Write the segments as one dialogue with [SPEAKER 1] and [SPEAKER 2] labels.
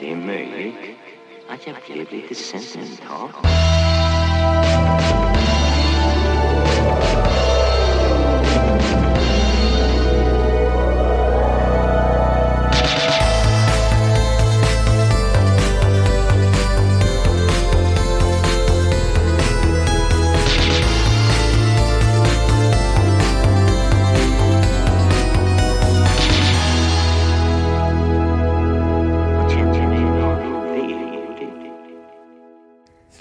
[SPEAKER 1] Det är möjligt att jag blev lite sentimental. Och känner mig väldigt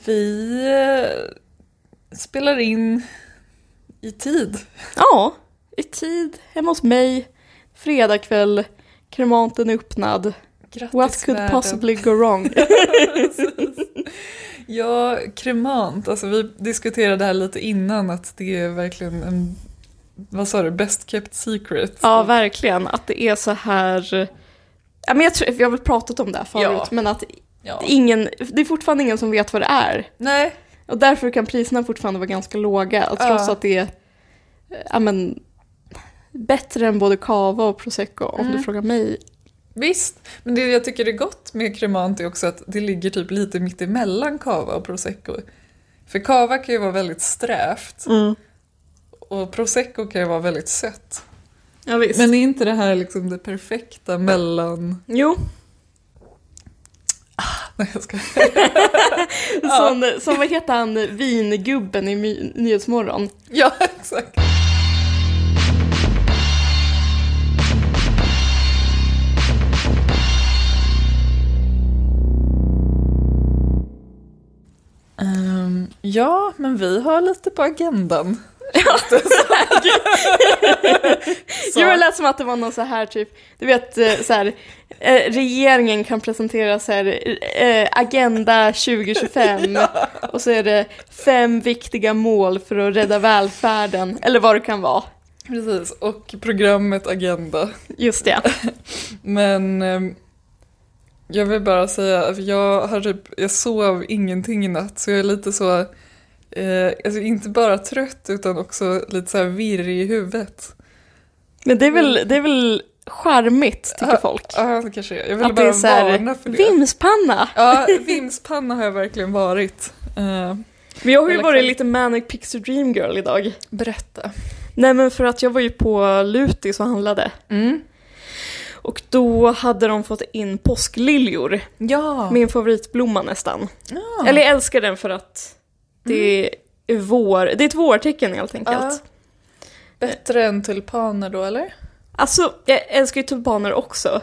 [SPEAKER 2] Vi eh, spelar in i tid.
[SPEAKER 3] Ja, i tid, hemma hos mig, fredag kväll, kremanten är öppnad.
[SPEAKER 2] Grattis
[SPEAKER 3] What could
[SPEAKER 2] världen.
[SPEAKER 3] possibly go wrong?
[SPEAKER 2] Ja, kremant. Alltså vi diskuterade det här lite innan att det är verkligen en, vad sa du, best kept secret.
[SPEAKER 3] ja, verkligen. Att det är så här... Ja, men jag tror, vi har väl pratat om det här förut,
[SPEAKER 2] Ja.
[SPEAKER 3] men att
[SPEAKER 2] Ja.
[SPEAKER 3] ingen, det är fortfarande ingen som vet vad det är.
[SPEAKER 2] Nej,
[SPEAKER 3] Och därför kan priserna fortfarande vara ganska låga, trots
[SPEAKER 2] Ja.
[SPEAKER 3] att det är ja, men, bättre än både cava och prosecco om du frågar mig.
[SPEAKER 2] visst. Men det jag tycker är gott med kremant är också att det ligger typ lite mitt emellan kava och prosecco. För kava kan ju vara väldigt strävt och prosecco kan ju vara väldigt sött.
[SPEAKER 3] Ja, visst.
[SPEAKER 2] Men är inte det här liksom det perfekta mellan...
[SPEAKER 3] jo,
[SPEAKER 2] Nej, jag ska...
[SPEAKER 3] som, som vad heter han, vingubben i My- Nyhetsmorgon.
[SPEAKER 2] Ja, exakt. Ehm, ja, men vi har lite på agendan.
[SPEAKER 3] Så. Jo, det lät som att det var någon så här typ, du vet eh, så här, eh, regeringen kan presentera så här, eh, Agenda 2025 och så är det fem viktiga mål för att rädda välfärden, eller vad det kan vara.
[SPEAKER 2] Precis, och programmet Agenda.
[SPEAKER 3] Just det.
[SPEAKER 2] Men ehm, jag vill bara säga att jag, har typ, jag sov ingenting i natt så jag är lite så, eh, alltså inte bara trött utan också lite så här virrig i huvudet.
[SPEAKER 3] Men det är väl, det är väl charmigt, tycker folk.
[SPEAKER 2] Ja, det kanske jag. Jag ville
[SPEAKER 3] Att det är
[SPEAKER 2] bara
[SPEAKER 3] så här,
[SPEAKER 2] varna för det.
[SPEAKER 3] vimspanna!
[SPEAKER 2] ja, vimspanna har jag verkligen varit. Eh,
[SPEAKER 3] Men jag har ju
[SPEAKER 2] Eller
[SPEAKER 3] varit
[SPEAKER 2] kväll.
[SPEAKER 3] lite manic pixie dream girl idag.
[SPEAKER 2] Berätta.
[SPEAKER 3] Nej men för att jag var ju på Lutis och handlade. Mm. Och då hade de fått in påskliljor.
[SPEAKER 2] Ja. Ah.
[SPEAKER 3] Min favoritblomma nästan.
[SPEAKER 2] ja.
[SPEAKER 3] Eller jag älskar den för att det
[SPEAKER 2] Mm.
[SPEAKER 3] är vår. Det är ett vårtecken helt enkelt.
[SPEAKER 2] Ja. Bättre än tulpaner då eller?
[SPEAKER 3] Alltså, jag älskar ju tulpaner också.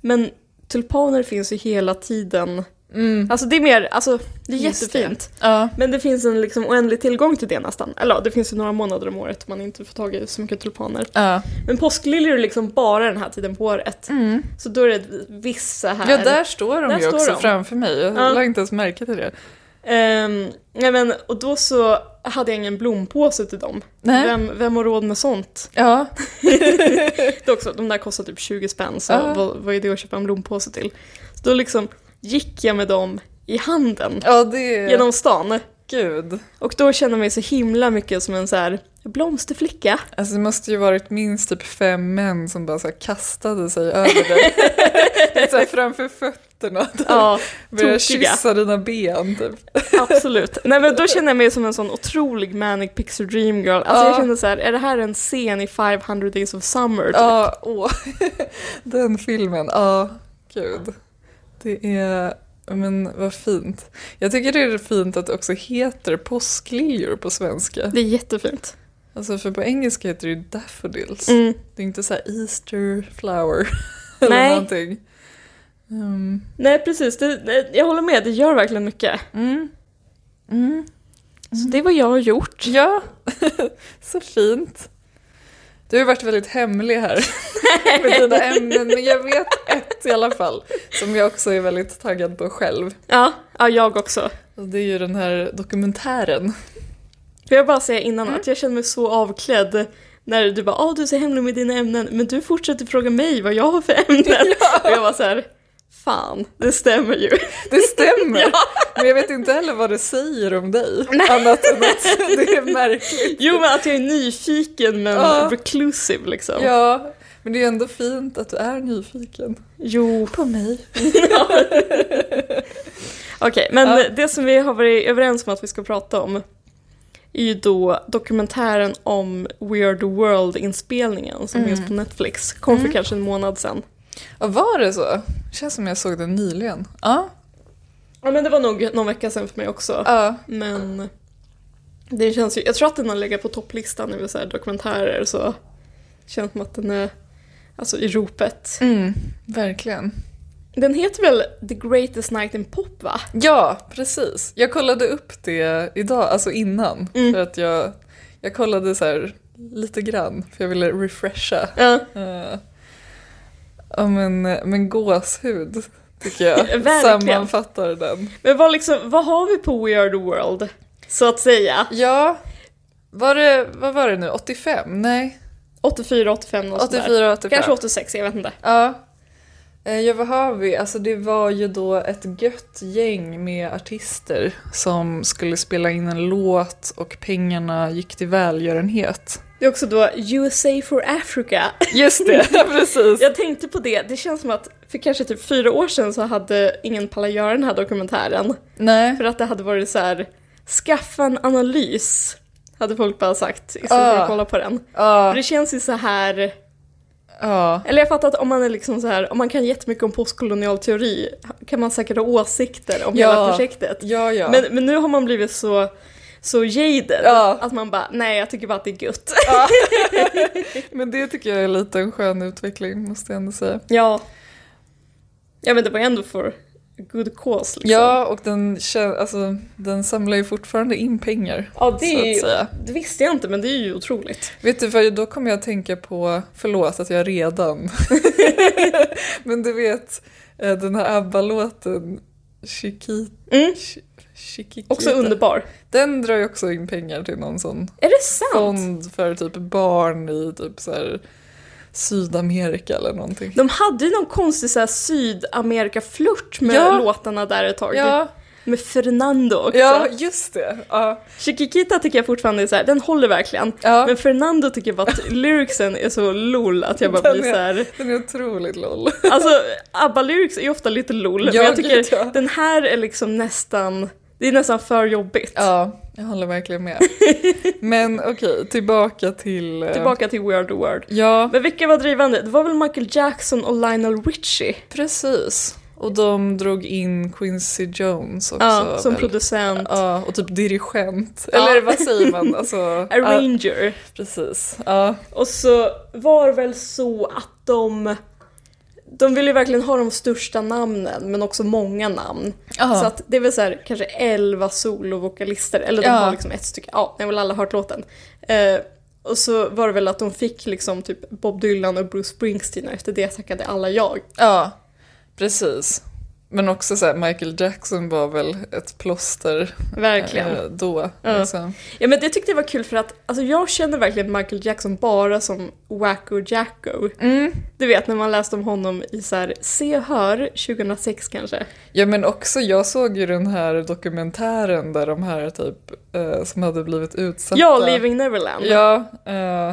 [SPEAKER 3] Men tulpaner finns ju hela tiden.
[SPEAKER 2] Mm.
[SPEAKER 3] Alltså det är mer, alltså det är
[SPEAKER 2] Just det.
[SPEAKER 3] jättefint.
[SPEAKER 2] Ja.
[SPEAKER 3] Men det finns en liksom oändlig tillgång till det nästan. Eller ja, det finns ju några månader om året man inte får tag i så mycket tulpaner.
[SPEAKER 2] Ja.
[SPEAKER 3] Men påskliljor är liksom bara den här tiden på året. Så då är det vissa här.
[SPEAKER 2] Mm. ja, där står de
[SPEAKER 3] Mm. Där
[SPEAKER 2] ju
[SPEAKER 3] står
[SPEAKER 2] också
[SPEAKER 3] de.
[SPEAKER 2] framför mig. Jag
[SPEAKER 3] Ja.
[SPEAKER 2] lade inte ens märke till det.
[SPEAKER 3] Ehm, nej men, och då så hade jag ingen blompåse till dem.
[SPEAKER 2] Nej.
[SPEAKER 3] Vem, vem har råd med sånt?
[SPEAKER 2] Ja.
[SPEAKER 3] Det också, de där kostar typ 20 spänn, så
[SPEAKER 2] Ja.
[SPEAKER 3] vad, vad är det att köpa en blompåse till? Så då liksom gick jag med dem i handen
[SPEAKER 2] Ja, det är...
[SPEAKER 3] genom stan.
[SPEAKER 2] Gud.
[SPEAKER 3] Och då kände jag mig så himla mycket som en så här blomsterflicka.
[SPEAKER 2] Alltså det måste ju varit minst typ fem män som bara så här kastade sig över dig. så här framför fötterna.
[SPEAKER 3] Ja,
[SPEAKER 2] Började
[SPEAKER 3] tokiga.
[SPEAKER 2] kyssa dina ben typ.
[SPEAKER 3] absolut. Nej men då kände jag mig som en sån otrolig manic pixie dream girl. Alltså
[SPEAKER 2] Ja.
[SPEAKER 3] jag kände så här, är det här en scen i 500 days of summer? typ?
[SPEAKER 2] Ja, åh. Den filmen. Ja, gud. Det är... Men vad fint. Jag tycker det är fint att det också heter påskliljor på svenska.
[SPEAKER 3] Det är jättefint.
[SPEAKER 2] Alltså för på engelska heter det ju daffodils.
[SPEAKER 3] Mm.
[SPEAKER 2] Det är inte så här Easter flower eller
[SPEAKER 3] Nej.
[SPEAKER 2] någonting. Mm.
[SPEAKER 3] Nej precis, det, det- jag håller med, det gör verkligen mycket.
[SPEAKER 2] Mm.
[SPEAKER 3] Mm. Så det är vad jag har gjort.
[SPEAKER 2] Ja, så fint. Du har ju varit väldigt hemlig här med dina ämnen, men jag vet ett i alla fall som jag också är väldigt taggad på själv.
[SPEAKER 3] Ja, ja jag också.
[SPEAKER 2] Och det är ju den här dokumentären.
[SPEAKER 3] Får jag bara säga innan att jag känner mig så avklädd när du bara ah du är så hemlig med dina ämnen men du fortsätter fråga mig vad jag har för ämnen. Och jag var så här, fan det stämmer ju.
[SPEAKER 2] Det stämmer, men jag vet inte heller vad det säger om dig. Annat än att det är märkligt.
[SPEAKER 3] Jo men att jag är nyfiken men
[SPEAKER 2] Ja.
[SPEAKER 3] reclusive liksom.
[SPEAKER 2] Ja, men det är ju ändå fint att du är nyfiken.
[SPEAKER 3] Jo.
[SPEAKER 2] På mig.
[SPEAKER 3] Okej, men
[SPEAKER 2] Ja.
[SPEAKER 3] det som vi har varit överens om att vi ska prata om är ju då dokumentären om Weird World-inspelningen som finns på Netflix. Kom för kanske en månad sedan.
[SPEAKER 2] Ja, var det så? Känns som jag såg den nyligen. Ja.
[SPEAKER 3] Ja, men det var nog någon vecka sedan för mig också.
[SPEAKER 2] Ja.
[SPEAKER 3] Men det känns ju, jag tror att den har legat på topplistan över så här dokumentärer så det känns som att den är alltså, i ropet.
[SPEAKER 2] Mm, verkligen.
[SPEAKER 3] Den heter väl The Greatest Night in Pop va?
[SPEAKER 2] Ja, precis. Jag kollade upp det idag, alltså innan. För att jag, jag kollade så här lite grann, för jag ville refresha.
[SPEAKER 3] Ja,
[SPEAKER 2] Eh, Ja, men, eh, men gåshud tycker jag
[SPEAKER 3] Verkligen.
[SPEAKER 2] sammanfattar den.
[SPEAKER 3] men vad, liksom, vad har vi på Weird World så att säga?
[SPEAKER 2] Ja, var det, vad var det nu, 85? Nej,
[SPEAKER 3] 84, 85 och
[SPEAKER 2] 84, 85.
[SPEAKER 3] Kanske 86, jag vet inte.
[SPEAKER 2] Ja. Eh, Ja, vad har vi? Alltså det var ju då ett gött gäng med artister som skulle spela in en låt och pengarna gick till välgörenhet.
[SPEAKER 3] Det är också då USA for Africa.
[SPEAKER 2] Just det, precis.
[SPEAKER 3] Jag tänkte på det, det känns som att för kanske typ fyra år sedan så hade ingen pallat göra den här dokumentären.
[SPEAKER 2] Nej.
[SPEAKER 3] För att det hade varit så här, skaffa en analys, hade folk bara sagt istället för
[SPEAKER 2] Ah.
[SPEAKER 3] att kolla på den. För
[SPEAKER 2] Ja,
[SPEAKER 3] det känns ju så här,
[SPEAKER 2] ja,
[SPEAKER 3] eller jag fattar att om man är liksom så här, om man kan jättemycket om postkolonial teori kan man säkert ha åsikter om
[SPEAKER 2] Ja.
[SPEAKER 3] hela projektet.
[SPEAKER 2] ja, ja.
[SPEAKER 3] Men, men nu har man blivit så, så jaded
[SPEAKER 2] Ja.
[SPEAKER 3] att man bara, nej jag tycker bara att det är gött.
[SPEAKER 2] Men det tycker jag är lite en skön utveckling, måste jag ändå säga.
[SPEAKER 3] Ja. Ja men det var ju ändå för a good cause liksom.
[SPEAKER 2] Ja, och den, kä- alltså, den samlar ju fortfarande in pengar.
[SPEAKER 3] ja det,
[SPEAKER 2] så
[SPEAKER 3] är
[SPEAKER 2] att
[SPEAKER 3] ju,
[SPEAKER 2] säga.
[SPEAKER 3] det visste jag inte men det är ju otroligt.
[SPEAKER 2] Vet du vad, då kommer jag att tänka på, förlåt att jag redan, men du vet eh, den här ABBA-låten Chiquita.
[SPEAKER 3] Mm.
[SPEAKER 2] Chiquita.
[SPEAKER 3] Också underbar.
[SPEAKER 2] Den drar ju också in pengar till någon sån
[SPEAKER 3] Är det sant?
[SPEAKER 2] fond för typ barn i typ så här Sydamerika eller någonting.
[SPEAKER 3] De hade ju någon konstig så här Sydamerika-flört med
[SPEAKER 2] Ja.
[SPEAKER 3] låtarna där ett tag. typ,
[SPEAKER 2] Ja,
[SPEAKER 3] Med Fernando också.
[SPEAKER 2] ja, just det. Ja,
[SPEAKER 3] Chiquita tycker jag fortfarande är så här, den håller verkligen.
[SPEAKER 2] ja.
[SPEAKER 3] Men Fernando tycker jag bara att lyricsen är så lol att jag bara
[SPEAKER 2] Den
[SPEAKER 3] blir
[SPEAKER 2] är-
[SPEAKER 3] så här.
[SPEAKER 2] Den är otroligt lol.
[SPEAKER 3] Alltså, ABBA-lyrics är ju ofta lite lol,
[SPEAKER 2] Ja,
[SPEAKER 3] men jag
[SPEAKER 2] gud,
[SPEAKER 3] tycker
[SPEAKER 2] ja.
[SPEAKER 3] den här är liksom nästan, det är nästan för jobbigt.
[SPEAKER 2] Ja, jag håller verkligen med. Men okej, tillbaka till... eh,
[SPEAKER 3] Tillbaka till Weird World.
[SPEAKER 2] Ja,
[SPEAKER 3] Men vilka var drivande? Det var väl Michael Jackson och Lionel Richie?
[SPEAKER 2] Precis. Och de drog in Quincy Jones också.
[SPEAKER 3] Ja, alltså, som
[SPEAKER 2] väl?
[SPEAKER 3] producent.
[SPEAKER 2] Ja, och typ dirigent.
[SPEAKER 3] Ja.
[SPEAKER 2] Eller vad säger man? Alltså, ja,
[SPEAKER 3] Arranger.
[SPEAKER 2] precis. Ja,
[SPEAKER 3] Och så var det väl så att de... De ville ju verkligen ha de största namnen, men också många namn.
[SPEAKER 2] Ja.
[SPEAKER 3] Så att det är väl så här, kanske elva solovokalister, eller de
[SPEAKER 2] Ja.
[SPEAKER 3] har liksom ett stycke. Ja, ni har väl alla hört låten. Eh, och så var det väl att de fick liksom typ Bob Dylan och Bruce Springsteen och efter det tackade alla jag.
[SPEAKER 2] ja precis. Men också så här, Michael Jackson var väl ett plåster
[SPEAKER 3] Verkligen.
[SPEAKER 2] eh, då.
[SPEAKER 3] Ja.
[SPEAKER 2] Liksom.
[SPEAKER 3] Ja men det tyckte jag var kul för att alltså, jag känner verkligen Michael Jackson bara som Wacko Jacko.
[SPEAKER 2] Mm.
[SPEAKER 3] Du vet när man läste om honom i så här, Se och Hör 2006 kanske.
[SPEAKER 2] Ja men också, jag såg ju den här dokumentären där de här typ eh, som hade blivit utsatta.
[SPEAKER 3] Ja, Leaving Neverland.
[SPEAKER 2] Ja, eh,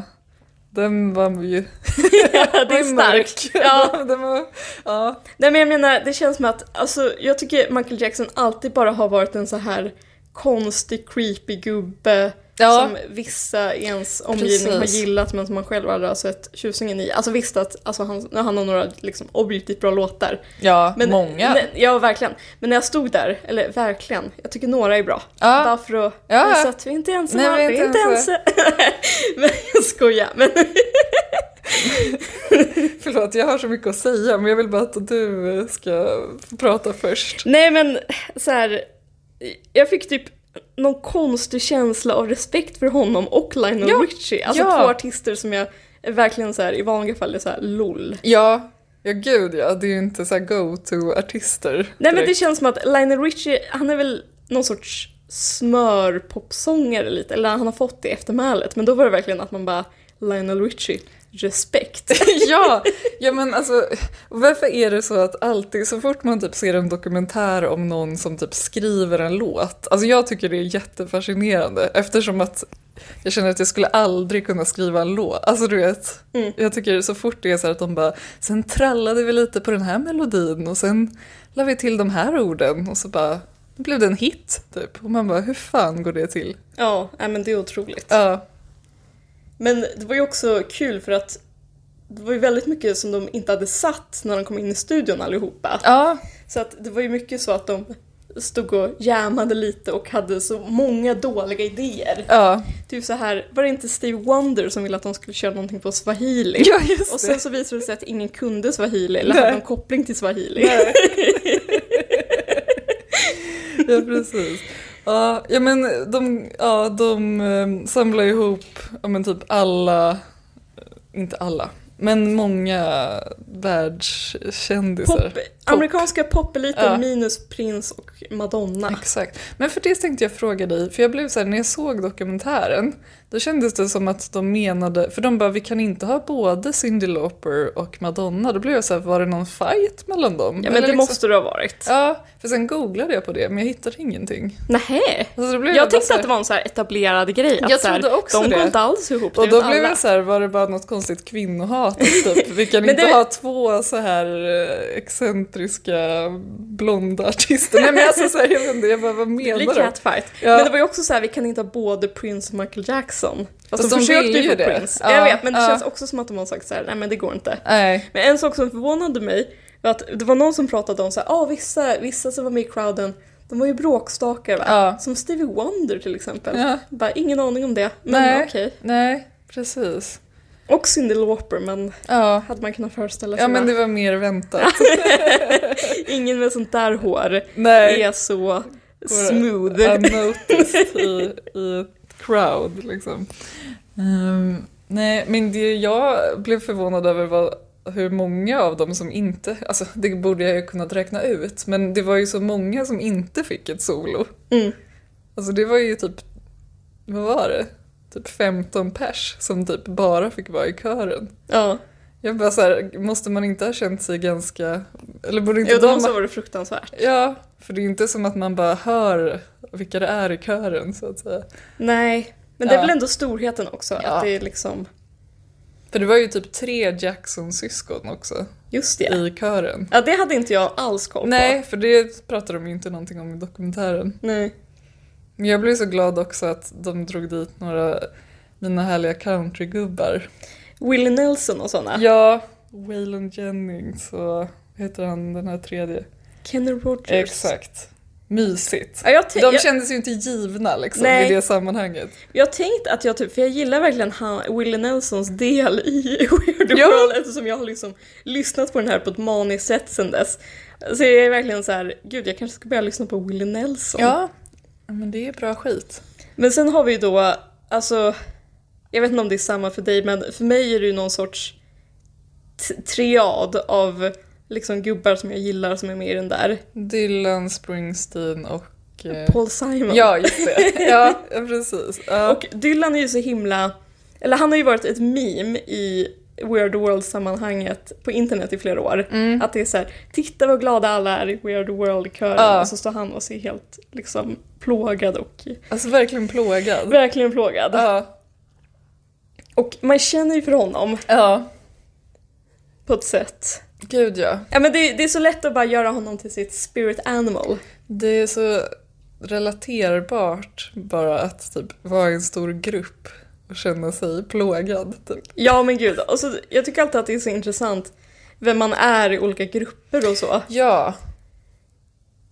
[SPEAKER 2] den var ju...
[SPEAKER 3] Ja, det är
[SPEAKER 2] var mörk.
[SPEAKER 3] starkt. Ja.
[SPEAKER 2] den var, ja.
[SPEAKER 3] Nej men jag menar, det känns som att, alltså jag tycker Michael Jackson alltid bara har varit en så här konstig, creepy gubbe
[SPEAKER 2] Ja.
[SPEAKER 3] som vissa i ens omgivning
[SPEAKER 2] Precis.
[SPEAKER 3] har gillat men som man själv aldrig har sett tjusningen i. Alltså visst att alltså, han, han har några liksom, objektivt bra låtar.
[SPEAKER 2] Ja,
[SPEAKER 3] Men-
[SPEAKER 2] många.
[SPEAKER 3] Nej, ja, verkligen. Men när jag stod där, eller verkligen, jag tycker några är bra.
[SPEAKER 2] Ja.
[SPEAKER 3] Bara för att
[SPEAKER 2] Ja, ja.
[SPEAKER 3] visa att vi inte är ensamma.
[SPEAKER 2] Nej, vi är inte
[SPEAKER 3] men jag skojar. Men,
[SPEAKER 2] Förlåt, jag har så mycket att säga men jag vill bara att du eh, ska få prata först.
[SPEAKER 3] nej men så här, jag fick typ någon konstig känsla av respekt för honom och Lionel
[SPEAKER 2] Ja.
[SPEAKER 3] Richie. Alltså
[SPEAKER 2] Ja.
[SPEAKER 3] två artister som jag verkligen så här, i vanliga fall är så här LOL.
[SPEAKER 2] Ja, ja gud ja, det är ju inte så här go-to-artister.
[SPEAKER 3] Nej men det
[SPEAKER 2] direkt.
[SPEAKER 3] känns som att Lionel Richie, han är väl någon sorts smörpopsångare lite, eller han har fått det eftermälet. Men då var det verkligen att man bara, Lionel Richie, respekt.
[SPEAKER 2] ja, ja, men alltså varför är det så att alltid så fort man typ ser en dokumentär om någon som typ skriver en låt, alltså jag tycker det är jättefascinerande eftersom att jag känner att jag skulle aldrig kunna skriva en låt. Alltså du vet, jag tycker så fort det är så här att de bara, sen trallade vi lite på den här melodin och sen la vi till de här orden och så bara, blev det en hit typ. Och man bara, hur fan går det till?
[SPEAKER 3] Ja, nej, men det är otroligt.
[SPEAKER 2] Ja,
[SPEAKER 3] Men det var ju också kul för att det var ju väldigt mycket som de inte hade satt när de kom in i studion allihopa.
[SPEAKER 2] ja,
[SPEAKER 3] Så att det var ju mycket så att de stod och jammade lite och hade så många dåliga idéer.
[SPEAKER 2] ja.
[SPEAKER 3] Typ så här, var det inte Steve Wonder som ville att de skulle köra någonting på swahili?
[SPEAKER 2] ja just
[SPEAKER 3] Och
[SPEAKER 2] det.
[SPEAKER 3] sen så visade det sig att ingen kunde swahili eller
[SPEAKER 2] Nej.
[SPEAKER 3] hade någon koppling till swahili.
[SPEAKER 2] Ja, precis. Ja, ja men de, ja, de eh, samlar ihop ja, men typ alla, inte alla, men många världskändisar.
[SPEAKER 3] Pop, amerikanska popeliten
[SPEAKER 2] Ja.
[SPEAKER 3] minus prins och madonna.
[SPEAKER 2] Exakt. Men för det tänkte jag fråga dig, för jag blev så här, när jag såg dokumentären, då kändes det som att de menade, för de bara vi kan inte ha både Cyndi Lauper och Madonna, då blev jag så här, var det någon fight mellan dem?
[SPEAKER 3] Ja
[SPEAKER 2] Eller
[SPEAKER 3] men det
[SPEAKER 2] liksom-
[SPEAKER 3] måste det ha varit.
[SPEAKER 2] Ja, för sen googlade jag på det men jag hittade ingenting.
[SPEAKER 3] Nähä!
[SPEAKER 2] Alltså, då blev
[SPEAKER 3] Jag
[SPEAKER 2] bara så
[SPEAKER 3] tänkte
[SPEAKER 2] här-
[SPEAKER 3] att det var en så här etablerad grej. Att
[SPEAKER 2] Jag
[SPEAKER 3] så här,
[SPEAKER 2] trodde också
[SPEAKER 3] de
[SPEAKER 2] det.
[SPEAKER 3] går inte alls ihop.
[SPEAKER 2] Och
[SPEAKER 3] det vet
[SPEAKER 2] då blev
[SPEAKER 3] Typ alla.
[SPEAKER 2] jag så här, var det bara något konstigt kvinnohat? Typ? Vi kan
[SPEAKER 3] Men
[SPEAKER 2] inte
[SPEAKER 3] det-
[SPEAKER 2] ha två så här eh, excentriska blonda artister. Nej men alltså så här, jag vet inte, jag bara, vad
[SPEAKER 3] Det blir
[SPEAKER 2] menar du?
[SPEAKER 3] catfight.
[SPEAKER 2] Ja.
[SPEAKER 3] Men det var ju också så här, vi kan inte ha både Prince och Michael Jackson. Fast
[SPEAKER 2] Fast
[SPEAKER 3] de
[SPEAKER 2] de
[SPEAKER 3] försökte
[SPEAKER 2] ville
[SPEAKER 3] ju få
[SPEAKER 2] ju det.
[SPEAKER 3] Prince.
[SPEAKER 2] Ja,
[SPEAKER 3] jag vet, men det
[SPEAKER 2] ja.
[SPEAKER 3] känns också som att de har sagt så här, nej men det går inte.
[SPEAKER 2] Nej.
[SPEAKER 3] Men en sak som förvånade mig var att det var någon som pratade om så här, ah, vissa, vissa som var med i crowden, de var ju bråkstakar va?
[SPEAKER 2] Ja.
[SPEAKER 3] Som Stevie Wonder till exempel.
[SPEAKER 2] Ja.
[SPEAKER 3] Bara, ingen aning om det, men
[SPEAKER 2] Nej.
[SPEAKER 3] okej.
[SPEAKER 2] Nej, precis.
[SPEAKER 3] Och Cyndi Lauper, men
[SPEAKER 2] Ja.
[SPEAKER 3] hade man kunnat föreställa sig
[SPEAKER 2] Ja men
[SPEAKER 3] va?
[SPEAKER 2] det var mer väntat.
[SPEAKER 3] Ingen med sånt där hår
[SPEAKER 2] Nej.
[SPEAKER 3] är så smooth.
[SPEAKER 2] Unnoticed i, i ett crowd liksom. Ehm, nej men det jag blev förvånad över var hur många av dem som inte, alltså det borde jag ju kunnat räkna ut, men det var ju så många som inte fick ett solo.
[SPEAKER 3] Mm.
[SPEAKER 2] Alltså det var ju typ, vad var det? Typ 15 pers som typ bara fick vara i kören.
[SPEAKER 3] Ja.
[SPEAKER 2] Jag bara såhär, måste man inte ha känt sig ganska, eller borde inte
[SPEAKER 3] Jo,
[SPEAKER 2] de
[SPEAKER 3] de
[SPEAKER 2] ha
[SPEAKER 3] så var det fruktansvärt.
[SPEAKER 2] Ja, för det är inte som att man bara hör vilka det är i kören så att säga.
[SPEAKER 3] Nej, men det är
[SPEAKER 2] Ja.
[SPEAKER 3] väl ändå storheten också
[SPEAKER 2] Ja.
[SPEAKER 3] att det är liksom,
[SPEAKER 2] För det var ju typ tre Jackson-syskon också
[SPEAKER 3] just det.
[SPEAKER 2] i kören.
[SPEAKER 3] Ja, det hade inte jag alls koll på.
[SPEAKER 2] Nej, för det pratar de ju inte någonting om i dokumentären.
[SPEAKER 3] Nej.
[SPEAKER 2] Men jag blev så glad också att de drog dit några mina härliga countrygubbar.
[SPEAKER 3] Willie Nelson och sådana.
[SPEAKER 2] Ja, Waylon Jennings och vad heter han den här tredje?
[SPEAKER 3] Kenny Rogers.
[SPEAKER 2] Exakt. Mysigt.
[SPEAKER 3] Ja, jag, t-
[SPEAKER 2] De
[SPEAKER 3] Äh, jag,
[SPEAKER 2] kändes ju inte givna liksom
[SPEAKER 3] Nej.
[SPEAKER 2] i det sammanhanget.
[SPEAKER 3] jag tänkte att jag typ, för jag gillar verkligen han, Willie Nelsons del i Weird
[SPEAKER 2] Ja.
[SPEAKER 3] World eftersom jag har liksom lyssnat på den här på ett maniskt sätt sedan dess. Så jag är verkligen så här, gud jag kanske ska börja lyssna på Willie Nelson.
[SPEAKER 2] Mm. Ja, men det är bra skit.
[SPEAKER 3] Men sen har vi ju då, alltså, jag vet inte om det är samma för dig, men för mig är det ju någon sorts t- triad av liksom gubbar som jag gillar som är med i den där.
[SPEAKER 2] Dylan, Springsteen och... eh,
[SPEAKER 3] Paul Simon.
[SPEAKER 2] Ja, just det. Ja, precis. Ja.
[SPEAKER 3] Och Dylan är ju så himla, eller han har ju varit ett meme i Weird World-sammanhanget på internet i flera år.
[SPEAKER 2] Mm.
[SPEAKER 3] Att det är så här, titta vad glada alla är i Weird World-kören
[SPEAKER 2] Ja.
[SPEAKER 3] och så står han och ser helt liksom plågad och
[SPEAKER 2] Alltså verkligen plågad.
[SPEAKER 3] verkligen plågad.
[SPEAKER 2] Ja.
[SPEAKER 3] Och man känner ju för honom
[SPEAKER 2] ja.
[SPEAKER 3] på ett sätt.
[SPEAKER 2] Gud ja.
[SPEAKER 3] Ja men det, det är så lätt att bara göra honom till sitt spirit animal.
[SPEAKER 2] Det är så relaterbart bara att typ vara i en stor grupp och känna sig plågad. Typ.
[SPEAKER 3] Ja men gud, och så, jag tycker alltid att det är så intressant vem man är i olika grupper och så.
[SPEAKER 2] Ja.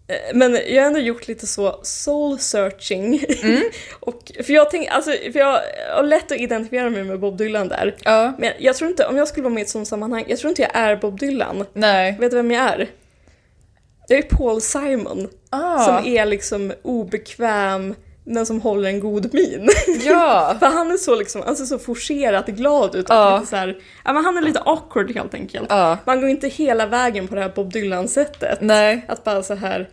[SPEAKER 3] Eh, Men jag har ändå gjort lite så soul searching. och, för, jag tänk, alltså, för jag har lätt att identifiera mig med Bob Dylan där.
[SPEAKER 2] Ja.
[SPEAKER 3] Men jag tror inte, om jag skulle vara med i ett sånt sammanhang, jag tror inte jag är Bob Dylan.
[SPEAKER 2] Nej.
[SPEAKER 3] Vet du vem jag är? Jag är Paul Simon,
[SPEAKER 2] Ah.
[SPEAKER 3] som är liksom obekväm men som håller en god min.
[SPEAKER 2] Ja.
[SPEAKER 3] För han är så liksom, han ser så forcerat glad ut.
[SPEAKER 2] Ja.
[SPEAKER 3] Och lite så här, ja, men han är lite awkward helt enkelt.
[SPEAKER 2] Ja.
[SPEAKER 3] Man går inte hela vägen på det här Bob Dylan-sättet.
[SPEAKER 2] Nej.
[SPEAKER 3] Att bara så här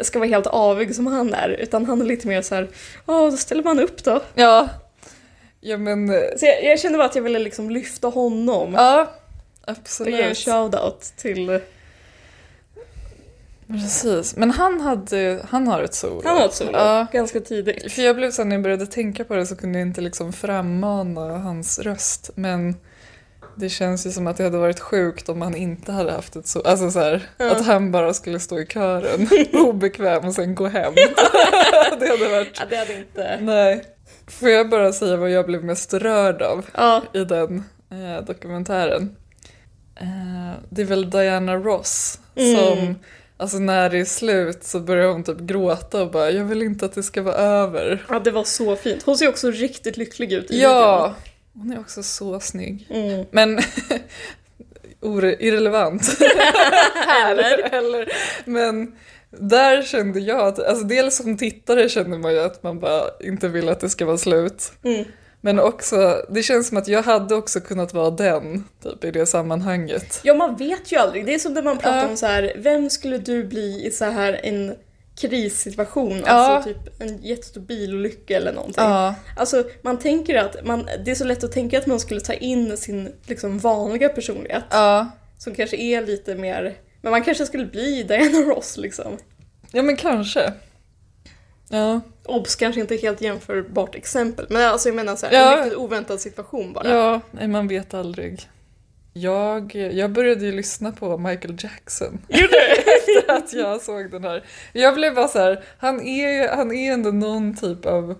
[SPEAKER 3] ska vara helt avig som han är. Utan han är lite mer så här, ja då ställer man upp då.
[SPEAKER 2] Ja. Ja men... eh,
[SPEAKER 3] Så jag, jag kände bara att jag ville liksom lyfta honom.
[SPEAKER 2] Ja.
[SPEAKER 3] och ge en
[SPEAKER 2] Absolut.
[SPEAKER 3] shout-out till...
[SPEAKER 2] Precis. Men han hade... Han har ett solo.
[SPEAKER 3] Han har ett solo
[SPEAKER 2] Ja.
[SPEAKER 3] ganska tidigt.
[SPEAKER 2] För jag blev så när jag började tänka på det så kunde jag inte liksom frammana hans röst. Men Det känns ju som att det hade varit sjukt om han inte hade haft ett så... Alltså så här, att han bara skulle stå i kören, obekväm och sen gå hem. det hade varit...
[SPEAKER 3] Ja, det hade inte...
[SPEAKER 2] Nej. Får jag bara säga vad jag blev mest rörd av
[SPEAKER 3] Ja,
[SPEAKER 2] i den eh, dokumentären? Eh, det är väl Diana Ross
[SPEAKER 3] Mm.
[SPEAKER 2] som... Alltså när det är slut så börjar hon typ gråta och bara “jag vill inte att det ska vara över”.
[SPEAKER 3] ja, det var så fint. Hon ser också riktigt lycklig ut i
[SPEAKER 2] Ja! Hon är också så snygg.
[SPEAKER 3] videon. Mm.
[SPEAKER 2] Men ore- irrelevant. eller? eller. Men där kände jag att, alltså dels som tittare känner man ju att man bara inte vill att det ska vara slut.
[SPEAKER 3] Mm.
[SPEAKER 2] Men också, det känns som att jag hade också kunnat vara den typ, i det sammanhanget.
[SPEAKER 3] Ja, man vet ju aldrig. Det är som när man pratar
[SPEAKER 2] Typ. Ja.
[SPEAKER 3] om så här, vem skulle du bli i så här en krissituation?
[SPEAKER 2] Ja.
[SPEAKER 3] Alltså typ en jättestor bilolycka eller någonting. Alltså man tänker att, man, det är så lätt att tänka att man skulle ta in sin liksom vanliga personlighet
[SPEAKER 2] ja.
[SPEAKER 3] som kanske är lite mer, men man kanske skulle bli Diana Ross liksom.
[SPEAKER 2] Ja men kanske. Ja,
[SPEAKER 3] Obs, kanske inte helt jämförbart exempel, men alltså jag menar så här,
[SPEAKER 2] Ja.
[SPEAKER 3] en riktigt oväntad situation bara.
[SPEAKER 2] ja nej, man vet aldrig. Jag, jag började ju lyssna på Michael Jackson. Efter att jag såg den här. Jag blev bara så här, han är, ju- han är ändå någon typ av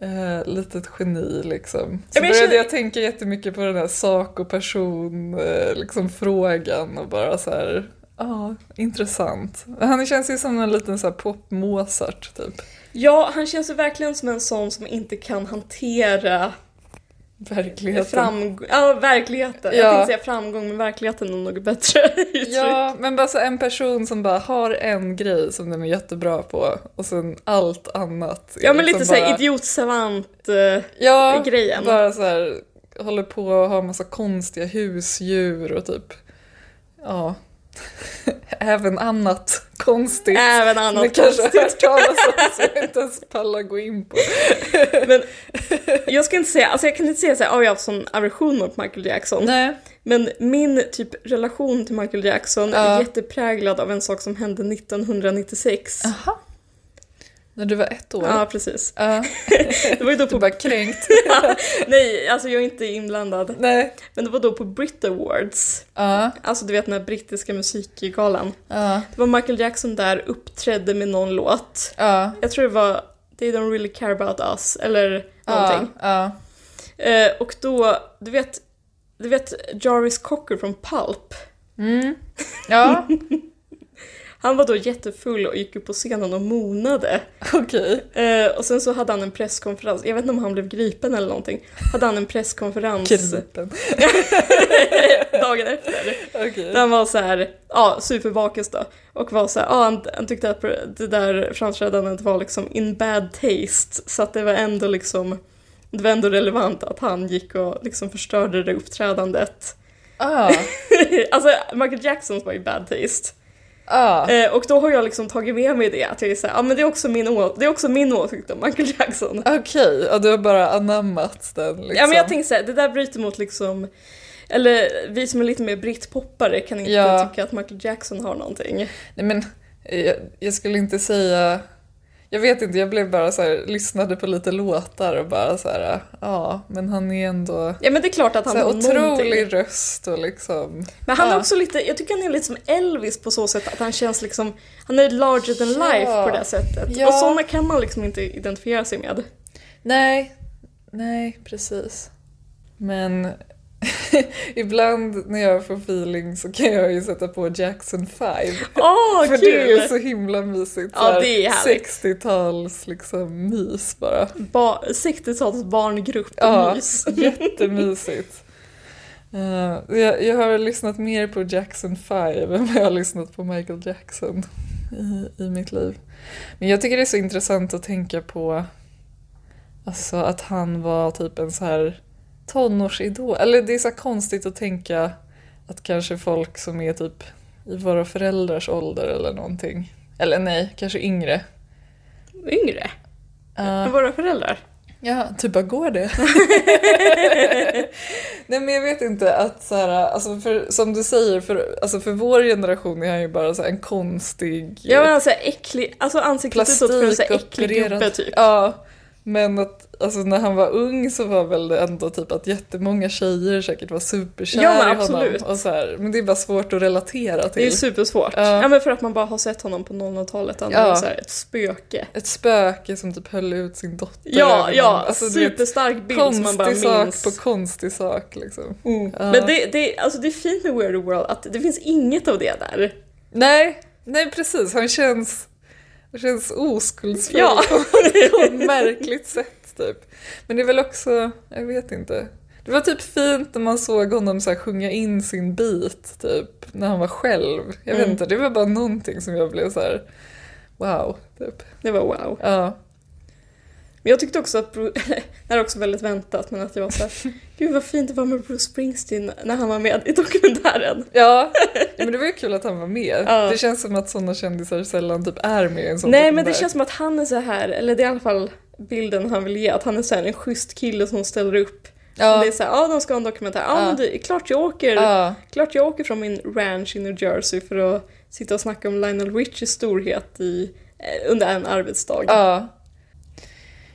[SPEAKER 2] eh, litet geni liksom. Så
[SPEAKER 3] Ja, men jag
[SPEAKER 2] började
[SPEAKER 3] känner-
[SPEAKER 2] jag tänka jättemycket på den här sak och person eh, liksom, frågan och bara så här, ja, intressant. Han känns ju som en liten så här pop-Mozart typ.
[SPEAKER 3] Ja, han känns ju verkligen som en sån som inte kan hantera
[SPEAKER 2] Verkligheten.
[SPEAKER 3] Framg- ja, verkligheten.
[SPEAKER 2] Ja.
[SPEAKER 3] Jag tänkte säga framgång, men verkligheten är nog bättre uttryck.
[SPEAKER 2] Ja, men bara så en person som bara har en grej som den är jättebra på och sen allt annat. är
[SPEAKER 3] Ja, men lite
[SPEAKER 2] liksom
[SPEAKER 3] såhär
[SPEAKER 2] bara-
[SPEAKER 3] idiot-savant. eh,
[SPEAKER 2] ja,
[SPEAKER 3] grejen.
[SPEAKER 2] Bara så här, håller på och har massa konstiga husdjur och typ, ja, även annat konstigt.
[SPEAKER 3] Även
[SPEAKER 2] Ni
[SPEAKER 3] annat
[SPEAKER 2] kanske har
[SPEAKER 3] konstigt.
[SPEAKER 2] hört talas om så jag inte ens pallar gå in på.
[SPEAKER 3] Men jag ska inte säga, alltså jag kan inte säga såhär, oh, jag har haft sån aversion mot Michael Jackson.
[SPEAKER 2] Nej.
[SPEAKER 3] Men min typ relation till Michael Jackson
[SPEAKER 2] Ja.
[SPEAKER 3] är jättepräglad av en sak som hände 1996.
[SPEAKER 2] Aha. När du var ett år?
[SPEAKER 3] Ja, precis.
[SPEAKER 2] Ja.
[SPEAKER 3] Det var ju då
[SPEAKER 2] Du
[SPEAKER 3] på...
[SPEAKER 2] bara kränkt?
[SPEAKER 3] Nej, alltså jag är inte inblandad.
[SPEAKER 2] Nej.
[SPEAKER 3] Men det var då på Brit Awards.
[SPEAKER 2] Ja.
[SPEAKER 3] Alltså du vet den här brittiska musikgalan.
[SPEAKER 2] Ja.
[SPEAKER 3] Det var Michael Jackson där uppträdde med någon låt.
[SPEAKER 2] Ja.
[SPEAKER 3] Jag tror det var They Don't Really Care About Us eller
[SPEAKER 2] Ja.
[SPEAKER 3] någonting.
[SPEAKER 2] Ja.
[SPEAKER 3] Eh, och då, du vet, du vet Jarvis Cocker från Pulp.
[SPEAKER 2] Mm. Ja,
[SPEAKER 3] Han var då jättefull och gick upp på scenen och monade.
[SPEAKER 2] okej.
[SPEAKER 3] Eh, och sen så hade han en presskonferens, jag vet inte om han blev gripen eller någonting. Hade han en presskonferens
[SPEAKER 2] Kripen.
[SPEAKER 3] dagen efter.
[SPEAKER 2] Okej.
[SPEAKER 3] Där han var så här, ja, superbakis då. Och var så här, ja, han, han tyckte att det där framträdandet var liksom in bad taste. Så att det var ändå liksom, det var ändå relevant att han gick och liksom förstörde det uppträdandet.
[SPEAKER 2] Ah,
[SPEAKER 3] alltså Michael Jacksons var ju bad taste.
[SPEAKER 2] ah.
[SPEAKER 3] Eh, och då har jag liksom tagit med mig det, att jag är så här, ja men det är också min, å- det är också min åsikt om Michael Jackson.
[SPEAKER 2] Okej, ja, du har bara anammat den liksom.
[SPEAKER 3] Ja men jag tänker såhär, det där bryter mot liksom eller vi som är lite mer brittpoppare kan inte
[SPEAKER 2] Ja.
[SPEAKER 3] tycka att Michael Jackson har någonting.
[SPEAKER 2] Nej, men eh, jag, jag skulle inte säga... Jag vet inte, jag blev bara så här, lyssnade på lite låtar och bara så här, ja, men han är ändå
[SPEAKER 3] Ja men det är klart att han
[SPEAKER 2] så här,
[SPEAKER 3] har någonting.
[SPEAKER 2] otrolig röst och liksom...
[SPEAKER 3] Men han är
[SPEAKER 2] Ja.
[SPEAKER 3] också lite, jag tycker han är lite som Elvis på så sätt att han känns liksom, han är larger than
[SPEAKER 2] Ja.
[SPEAKER 3] life på det här sättet.
[SPEAKER 2] Ja.
[SPEAKER 3] Och sådana kan man liksom inte identifiera sig med.
[SPEAKER 2] Nej, nej, precis. Men ibland när jag får feeling så kan jag ju sätta på Jackson 5.
[SPEAKER 3] Åh,
[SPEAKER 2] För det
[SPEAKER 3] Ah, kul!
[SPEAKER 2] är så himla mysigt.
[SPEAKER 3] Ja,
[SPEAKER 2] så här
[SPEAKER 3] det är härligt.
[SPEAKER 2] 60-tals liksom mys bara.
[SPEAKER 3] Ba- 60-tals barngrupp,
[SPEAKER 2] Ja,
[SPEAKER 3] mys.
[SPEAKER 2] jättemysigt. Eh, jag, jag har lyssnat mer på Jackson 5 än vad jag har lyssnat på Michael Jackson i, i mitt liv. Men jag tycker det är så intressant att tänka på alltså, att han var typ en så här tonårsidol. Eller det är så här konstigt att tänka att kanske folk som är typ i våra föräldrars ålder eller någonting. Eller nej, kanske yngre.
[SPEAKER 3] Yngre
[SPEAKER 2] Eh,
[SPEAKER 3] än våra föräldrar.
[SPEAKER 2] Ja, typ bara går det? Nej men jag vet inte att så här, alltså för, som du säger, för, alltså för vår generation är han ju bara så här, en konstig
[SPEAKER 3] Ja men alltså äcklig, alltså ansiktet utåt för en så här äcklig
[SPEAKER 2] plastikopererad.
[SPEAKER 3] gubbe typ.
[SPEAKER 2] Ja, Men att alltså, när han var ung så var väl det ändå typ att jättemånga tjejer säkert var superkär
[SPEAKER 3] Ja, men
[SPEAKER 2] i honom.
[SPEAKER 3] absolut.
[SPEAKER 2] Och så här. Men det är bara svårt att relatera till.
[SPEAKER 3] Det är supersvårt.
[SPEAKER 2] Ja.
[SPEAKER 3] Ja. men för att man bara har sett honom på 00-talet, han
[SPEAKER 2] Ja.
[SPEAKER 3] är så här ett spöke.
[SPEAKER 2] Ett spöke som typ höll ut sin dotter.
[SPEAKER 3] Ja,
[SPEAKER 2] över
[SPEAKER 3] ja,
[SPEAKER 2] honom. Alltså, du vet,
[SPEAKER 3] superstark bild som man bara
[SPEAKER 2] Konstig sak
[SPEAKER 3] minns.
[SPEAKER 2] på konstig sak liksom.
[SPEAKER 3] Mm.
[SPEAKER 2] Ja.
[SPEAKER 3] Men det, det, alltså det är fint med Weird World att det finns inget av det där.
[SPEAKER 2] Nej, nej precis. Han känns, han känns oskuldsfull
[SPEAKER 3] Ja.
[SPEAKER 2] på ett märkligt sätt typ. Men det är väl också, jag vet inte. Det var typ fint när man såg honom så här sjunga in sin bit typ, när han var själv. Jag vet
[SPEAKER 3] Mm.
[SPEAKER 2] inte, det var bara någonting som jag blev så här. wow, typ.
[SPEAKER 3] Det var wow.
[SPEAKER 2] Ja,
[SPEAKER 3] Men jag tyckte också att, Bru- det här är också väldigt väntat, men att jag var såhär, gud vad fint det var med Bruce Springsteen när han var med i dokumentären.
[SPEAKER 2] ja. ja men det var ju kul att han var med.
[SPEAKER 3] Ja.
[SPEAKER 2] Det känns som att sådana kändisar sällan typ är med i en sån
[SPEAKER 3] Nej men det
[SPEAKER 2] dokumentär.
[SPEAKER 3] känns som att han är så här, eller det är i alla fall bilden han vill ge, att han är så här en schysst kille som ställer upp.
[SPEAKER 2] ja.
[SPEAKER 3] Det är såhär, ja de ska ha en dokumentär, ja
[SPEAKER 2] Ja.
[SPEAKER 3] men det är klart jag åker,
[SPEAKER 2] ja.
[SPEAKER 3] klart jag åker från min ranch i New Jersey för att sitta och snacka om Lionel Richies storhet i, eh, under en arbetsdag.
[SPEAKER 2] Ja.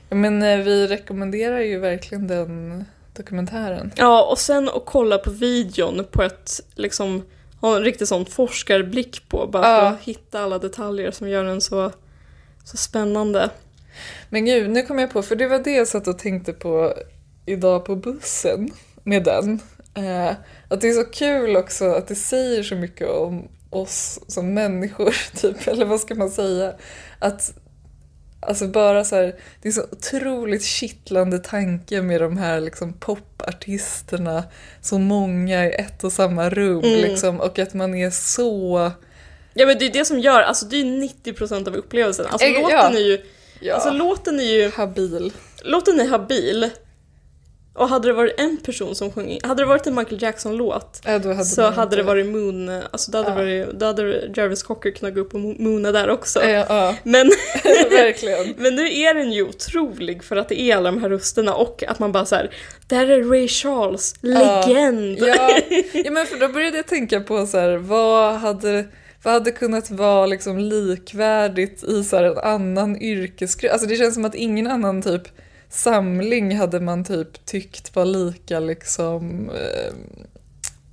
[SPEAKER 2] Ja, Men eh, vi rekommenderar ju verkligen den dokumentären.
[SPEAKER 3] Ja, och sen att kolla på videon på ett, liksom, ha en riktigt sån forskarblick på, bara
[SPEAKER 2] Ja.
[SPEAKER 3] för att hitta alla detaljer som gör den så, så spännande.
[SPEAKER 2] Men gud, nu kom jag på, för det var det jag satt och tänkte på idag på bussen med den. Eh, att det är så kul också att det säger så mycket om oss som människor, typ, eller vad ska man säga? Att Alltså bara så här, det är så otroligt kittlande tanke med de här liksom popartisterna, så många i ett och samma rum
[SPEAKER 3] Mm.
[SPEAKER 2] liksom, och att man är så...
[SPEAKER 3] Ja men det är det som gör, alltså det är 90% av upplevelsen. Alltså,
[SPEAKER 2] Eh,
[SPEAKER 3] låten,
[SPEAKER 2] ja.
[SPEAKER 3] är ju,
[SPEAKER 2] Ja.
[SPEAKER 3] alltså låten är ju,
[SPEAKER 2] habil.
[SPEAKER 3] låten är habil. Och hade det varit en person som sjöng, hade det varit en Michael Jackson-låt
[SPEAKER 2] Ja, Äh, då hade
[SPEAKER 3] så
[SPEAKER 2] man
[SPEAKER 3] hade
[SPEAKER 2] inte-
[SPEAKER 3] det varit Moon, alltså då hade,
[SPEAKER 2] Ja.
[SPEAKER 3] varit, då hade Jarvis Cocker kunnat gå upp och mo- moona där också.
[SPEAKER 2] Ja, Eh, ja,
[SPEAKER 3] Men
[SPEAKER 2] verkligen.
[SPEAKER 3] Men nu är den ju otrolig för att det är alla de här rösterna och att man bara så här, där är Ray Charles, legend!
[SPEAKER 2] Ja, ja, men för då började jag tänka på så här, vad hade, vad hade kunnat vara liksom likvärdigt i så här en annan yrkesgrupp? Alltså det känns som att ingen annan typ samling hade man typ tyckt var lika liksom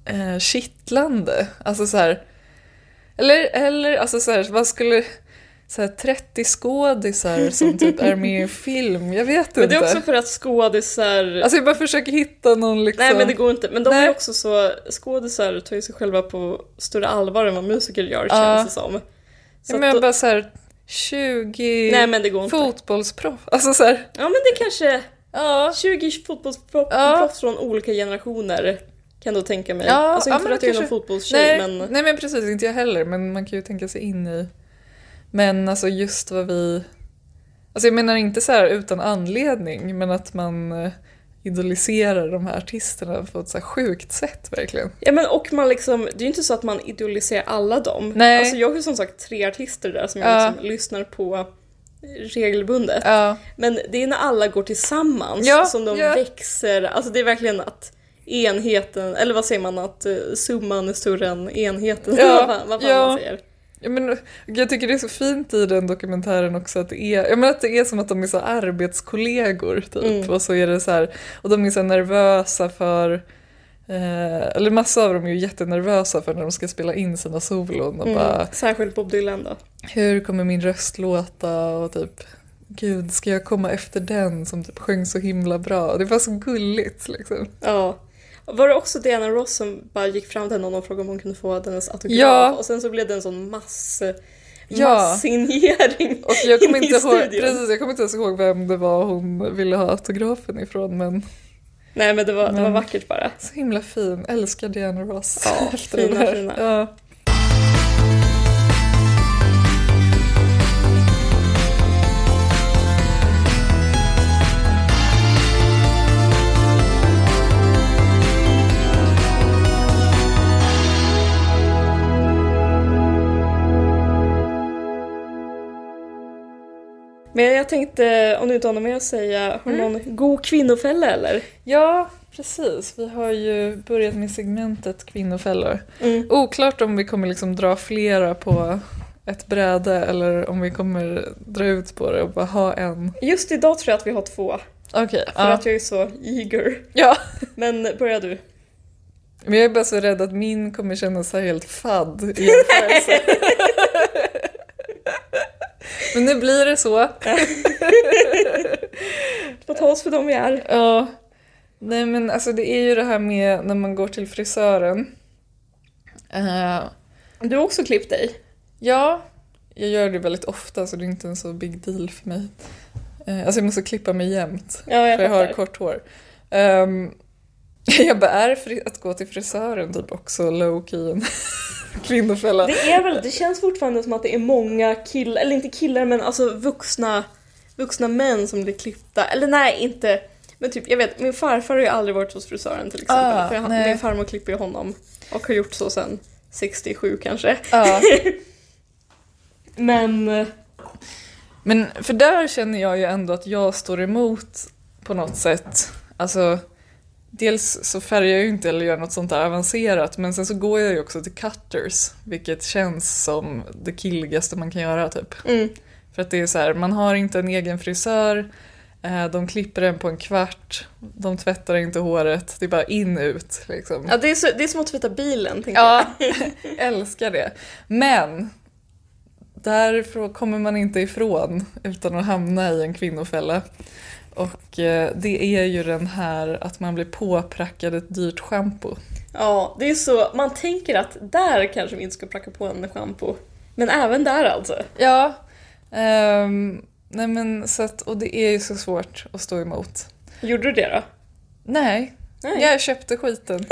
[SPEAKER 2] eh, eh, kittlande. Alltså så här, eller, eller alltså så här, vad skulle så här, 30 skådisar som typ är med i en film, jag vet
[SPEAKER 3] Men det
[SPEAKER 2] inte.
[SPEAKER 3] är också för att skådisar...
[SPEAKER 2] Alltså jag bara försöker hitta någon liksom...
[SPEAKER 3] nej men det går inte, men de
[SPEAKER 2] Nej.
[SPEAKER 3] är också så, skådisar tar ju sig själva på större allvar än vad musiker gör
[SPEAKER 2] Ja.
[SPEAKER 3] känns det som. Så
[SPEAKER 2] Ja,
[SPEAKER 3] att
[SPEAKER 2] men jag
[SPEAKER 3] då,
[SPEAKER 2] bara så här, 20
[SPEAKER 3] nej men det går inte.
[SPEAKER 2] fotbollsproff. Alltså så här,
[SPEAKER 3] Ja men det är kanske
[SPEAKER 2] ja.
[SPEAKER 3] 20 fotbollsproffs
[SPEAKER 2] Ja.
[SPEAKER 3] proffs från olika generationer kan jag då tänka mig.
[SPEAKER 2] Ja,
[SPEAKER 3] alltså
[SPEAKER 2] ja,
[SPEAKER 3] inte
[SPEAKER 2] men
[SPEAKER 3] för att
[SPEAKER 2] det
[SPEAKER 3] jag är någon
[SPEAKER 2] kanske-
[SPEAKER 3] fotbollstjej
[SPEAKER 2] Nej,
[SPEAKER 3] men...
[SPEAKER 2] nej men precis, inte jag heller, men man kan ju tänka sig in i. Men alltså just vad vi... Alltså jag menar inte så här utan anledning, men att man eh, idoliserar de här artisterna på ett så här sjukt sätt verkligen.
[SPEAKER 3] Ja men och man liksom, det är ju inte så att man idoliserar alla dem.
[SPEAKER 2] Nej.
[SPEAKER 3] Alltså jag har ju som sagt tre artister där som
[SPEAKER 2] Ja.
[SPEAKER 3] jag liksom lyssnar på regelbundet.
[SPEAKER 2] Ja,
[SPEAKER 3] Men det är när alla går tillsammans
[SPEAKER 2] Ja,
[SPEAKER 3] som de
[SPEAKER 2] ja.
[SPEAKER 3] växer, alltså det är verkligen att enheten, eller vad säger man att eh, summan är större än enheten?
[SPEAKER 2] Ja,
[SPEAKER 3] vad fan, vad fan
[SPEAKER 2] ja.
[SPEAKER 3] man säger.
[SPEAKER 2] Ja, men, jag tycker det är så fint i den dokumentären också att det är, jag menar att det är som att de är så arbetskollegor typ.
[SPEAKER 3] Mm.
[SPEAKER 2] Och så är det så här, och de är så här nervösa för eh, eller massa av dem är ju jättenervösa för när de ska spela in sina solon och bara
[SPEAKER 3] Mm. Särskilt Bob Dylan då.
[SPEAKER 2] hur kommer min röst låta och typ gud ska jag komma efter den som typ sjöng så himla bra. Det var så gulligt liksom.
[SPEAKER 3] Ja. Var det också Diana Ross som bara gick fram till henne och någon frågade om hon kunde få hennes autograf?
[SPEAKER 2] Ja.
[SPEAKER 3] Och sen så blev det en sån mass,
[SPEAKER 2] Ja.
[SPEAKER 3] masssignering.
[SPEAKER 2] Och jag kommer,
[SPEAKER 3] In i
[SPEAKER 2] inte ihåg,
[SPEAKER 3] studion.
[SPEAKER 2] precis, jag kommer inte ens ihåg vem det var hon ville ha autografen ifrån men
[SPEAKER 3] Nej men det var, det var
[SPEAKER 2] Men-
[SPEAKER 3] vackert bara.
[SPEAKER 2] Så himla fin, älskar Diana Ross.
[SPEAKER 3] Ja, fina,
[SPEAKER 2] det där.
[SPEAKER 3] fina.
[SPEAKER 2] Ja.
[SPEAKER 3] Men jag tänkte, om du inte har något mer att säga, har du någon god kvinnofälla eller?
[SPEAKER 2] ja, precis. Vi har ju börjat med segmentet kvinnofällor.
[SPEAKER 3] Mm.
[SPEAKER 2] Oklart om vi kommer liksom dra flera på ett bräde eller om vi kommer dra ut på det och bara ha en.
[SPEAKER 3] Just idag tror jag att vi har två,
[SPEAKER 2] Okej.
[SPEAKER 3] för
[SPEAKER 2] ja.
[SPEAKER 3] att jag är så eager.
[SPEAKER 2] ja.
[SPEAKER 3] Men börja du.
[SPEAKER 2] Men jag är bara så rädd att min kommer kännas så här helt fadd i jämförelse. Men nu blir det så.
[SPEAKER 3] Låt ta oss för dem vi är.
[SPEAKER 2] Ja. Nej men alltså det är ju det här med när man går till frisören. Eh,
[SPEAKER 3] Du har också klippt dig.
[SPEAKER 2] ja, jag gör det väldigt ofta så det är inte en så big deal för mig. Eh, alltså jag måste klippa mig jämt.
[SPEAKER 3] Ja, jag
[SPEAKER 2] för jag har
[SPEAKER 3] fattar.
[SPEAKER 2] kort hår. Ehm, jag bara, är fri- att gå till frisören typ också low key en kvinnofälla?
[SPEAKER 3] Det är väl, det känns fortfarande som att det är många killar, eller inte killar men alltså vuxna, vuxna män som blir klippta. Eller nej, inte. Men typ, jag vet, min farfar har ju aldrig varit hos frisören till exempel.
[SPEAKER 2] Ah,
[SPEAKER 3] för han,
[SPEAKER 2] nej.
[SPEAKER 3] min farmor klipper ju honom och har gjort så sen 67 kanske.
[SPEAKER 2] Ja.
[SPEAKER 3] Men eh,
[SPEAKER 2] Men för där känner jag ju ändå att jag står emot på något sätt. Alltså, dels så färgar jag ju inte eller gör något sånt där avancerat men sen så går jag ju också till cutters vilket känns som det killigaste man kan göra typ.
[SPEAKER 3] mm,
[SPEAKER 2] För att det är så här, man har inte en egen frisör, eh, de klipper en på en kvart, de tvättar inte håret, det är bara in ut liksom.
[SPEAKER 3] ja, det, är så, det är som att tvätta bilen tänker
[SPEAKER 2] Ja, älskar det. Men därifrån kommer man inte ifrån utan att hamna i en kvinnofälla. Och eh, det är ju den här att man blir påprackad ett dyrt schampo.
[SPEAKER 3] Ja, det är så. Man tänker att där kanske vi inte ska pracka på en schampo. Men även där alltså.
[SPEAKER 2] Ja. ehm, nej men så att, och det är ju så svårt att stå emot.
[SPEAKER 3] Gjorde du det då?
[SPEAKER 2] Nej,
[SPEAKER 3] Nej.
[SPEAKER 2] jag köpte skiten.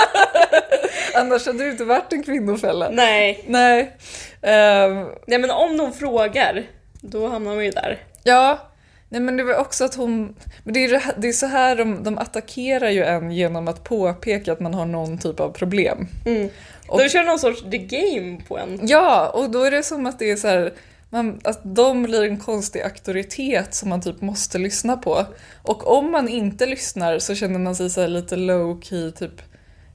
[SPEAKER 2] Annars hade det inte varit en kvinnofälla.
[SPEAKER 3] Nej.
[SPEAKER 2] Nej. Ehm,
[SPEAKER 3] Nej men om någon frågar, då hamnar man ju där.
[SPEAKER 2] Ja, nej men det var också att hon... Men det är, ju det här- det är så här de, de attackerar ju en genom att påpeka att man har någon typ av problem. Och-
[SPEAKER 3] De kör någon sorts the game på en.
[SPEAKER 2] Ja, och då är det som att det är så här... Man, att de blir en konstig auktoritet som man typ måste lyssna på. Och om man inte lyssnar så känner man sig så här lite low key, typ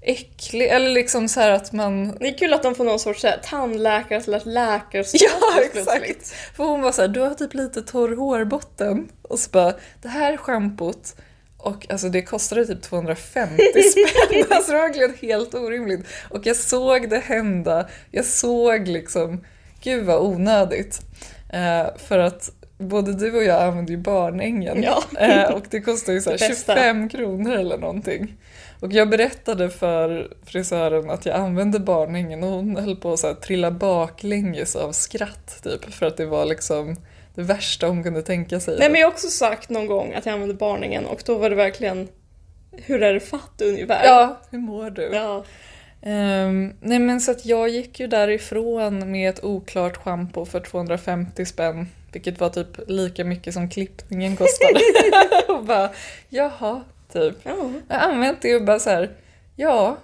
[SPEAKER 2] äcklig. Eller liksom så här att man
[SPEAKER 3] Det är kul att de får någon sorts så här, tandläkare eller läkarstatus
[SPEAKER 2] Ja, exakt.
[SPEAKER 3] plötsligt.
[SPEAKER 2] För hon var så här, du har typ lite torr hårbotten. Och så bara, det här schampot och alltså det kostade typ 250 spänn. Alltså det var verkligen helt orimligt. Och jag såg det hända. Jag såg liksom, gud vad onödigt. Eh, för att både du och jag använder ju barnängen.
[SPEAKER 3] Ja.
[SPEAKER 2] Eh, och det kostar ju så här
[SPEAKER 3] Det bästa.
[SPEAKER 2] 25 kronor eller någonting. Och jag berättade för frisören att jag använde barningen och hon höll på att så här trilla baklänges av skratt typ för att det var liksom det värsta hon kunde tänka sig.
[SPEAKER 3] Nej men jag har också sagt någon gång att jag använde barningen och då var det verkligen hur är det fatt ungefär.
[SPEAKER 2] Ja, hur mår du?
[SPEAKER 3] Ja.
[SPEAKER 2] Ehm, nej men så att jag gick ju därifrån med ett oklart schampo för 250 spänn vilket var typ lika mycket som klippningen kostade. och bara, jaha, typ.
[SPEAKER 3] Ja.
[SPEAKER 2] Jag har använt det och bara så här, ja.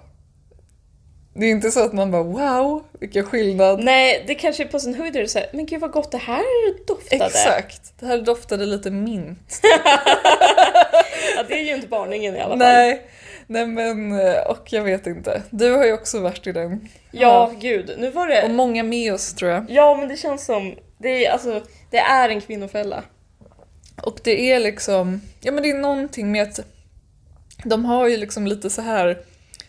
[SPEAKER 2] Det är inte så att man bara wow, vilken skillnad.
[SPEAKER 3] Nej, det kanske är på sin höjd är det så här, men gud vad gott det här doftade.
[SPEAKER 2] Exakt, det här doftade lite mint.
[SPEAKER 3] Ja, det är ju inte barningen i alla fall.
[SPEAKER 2] Nej, nej men eh, och jag vet inte. Du har ju också varit i den.
[SPEAKER 3] Ja, gud. Nu var
[SPEAKER 2] Och
[SPEAKER 3] det...
[SPEAKER 2] många med oss tror jag.
[SPEAKER 3] Ja, men det känns som... Det är, alltså, det är en kvinnofälla.
[SPEAKER 2] Och det är liksom, ja men det är någonting med att de har ju liksom lite så här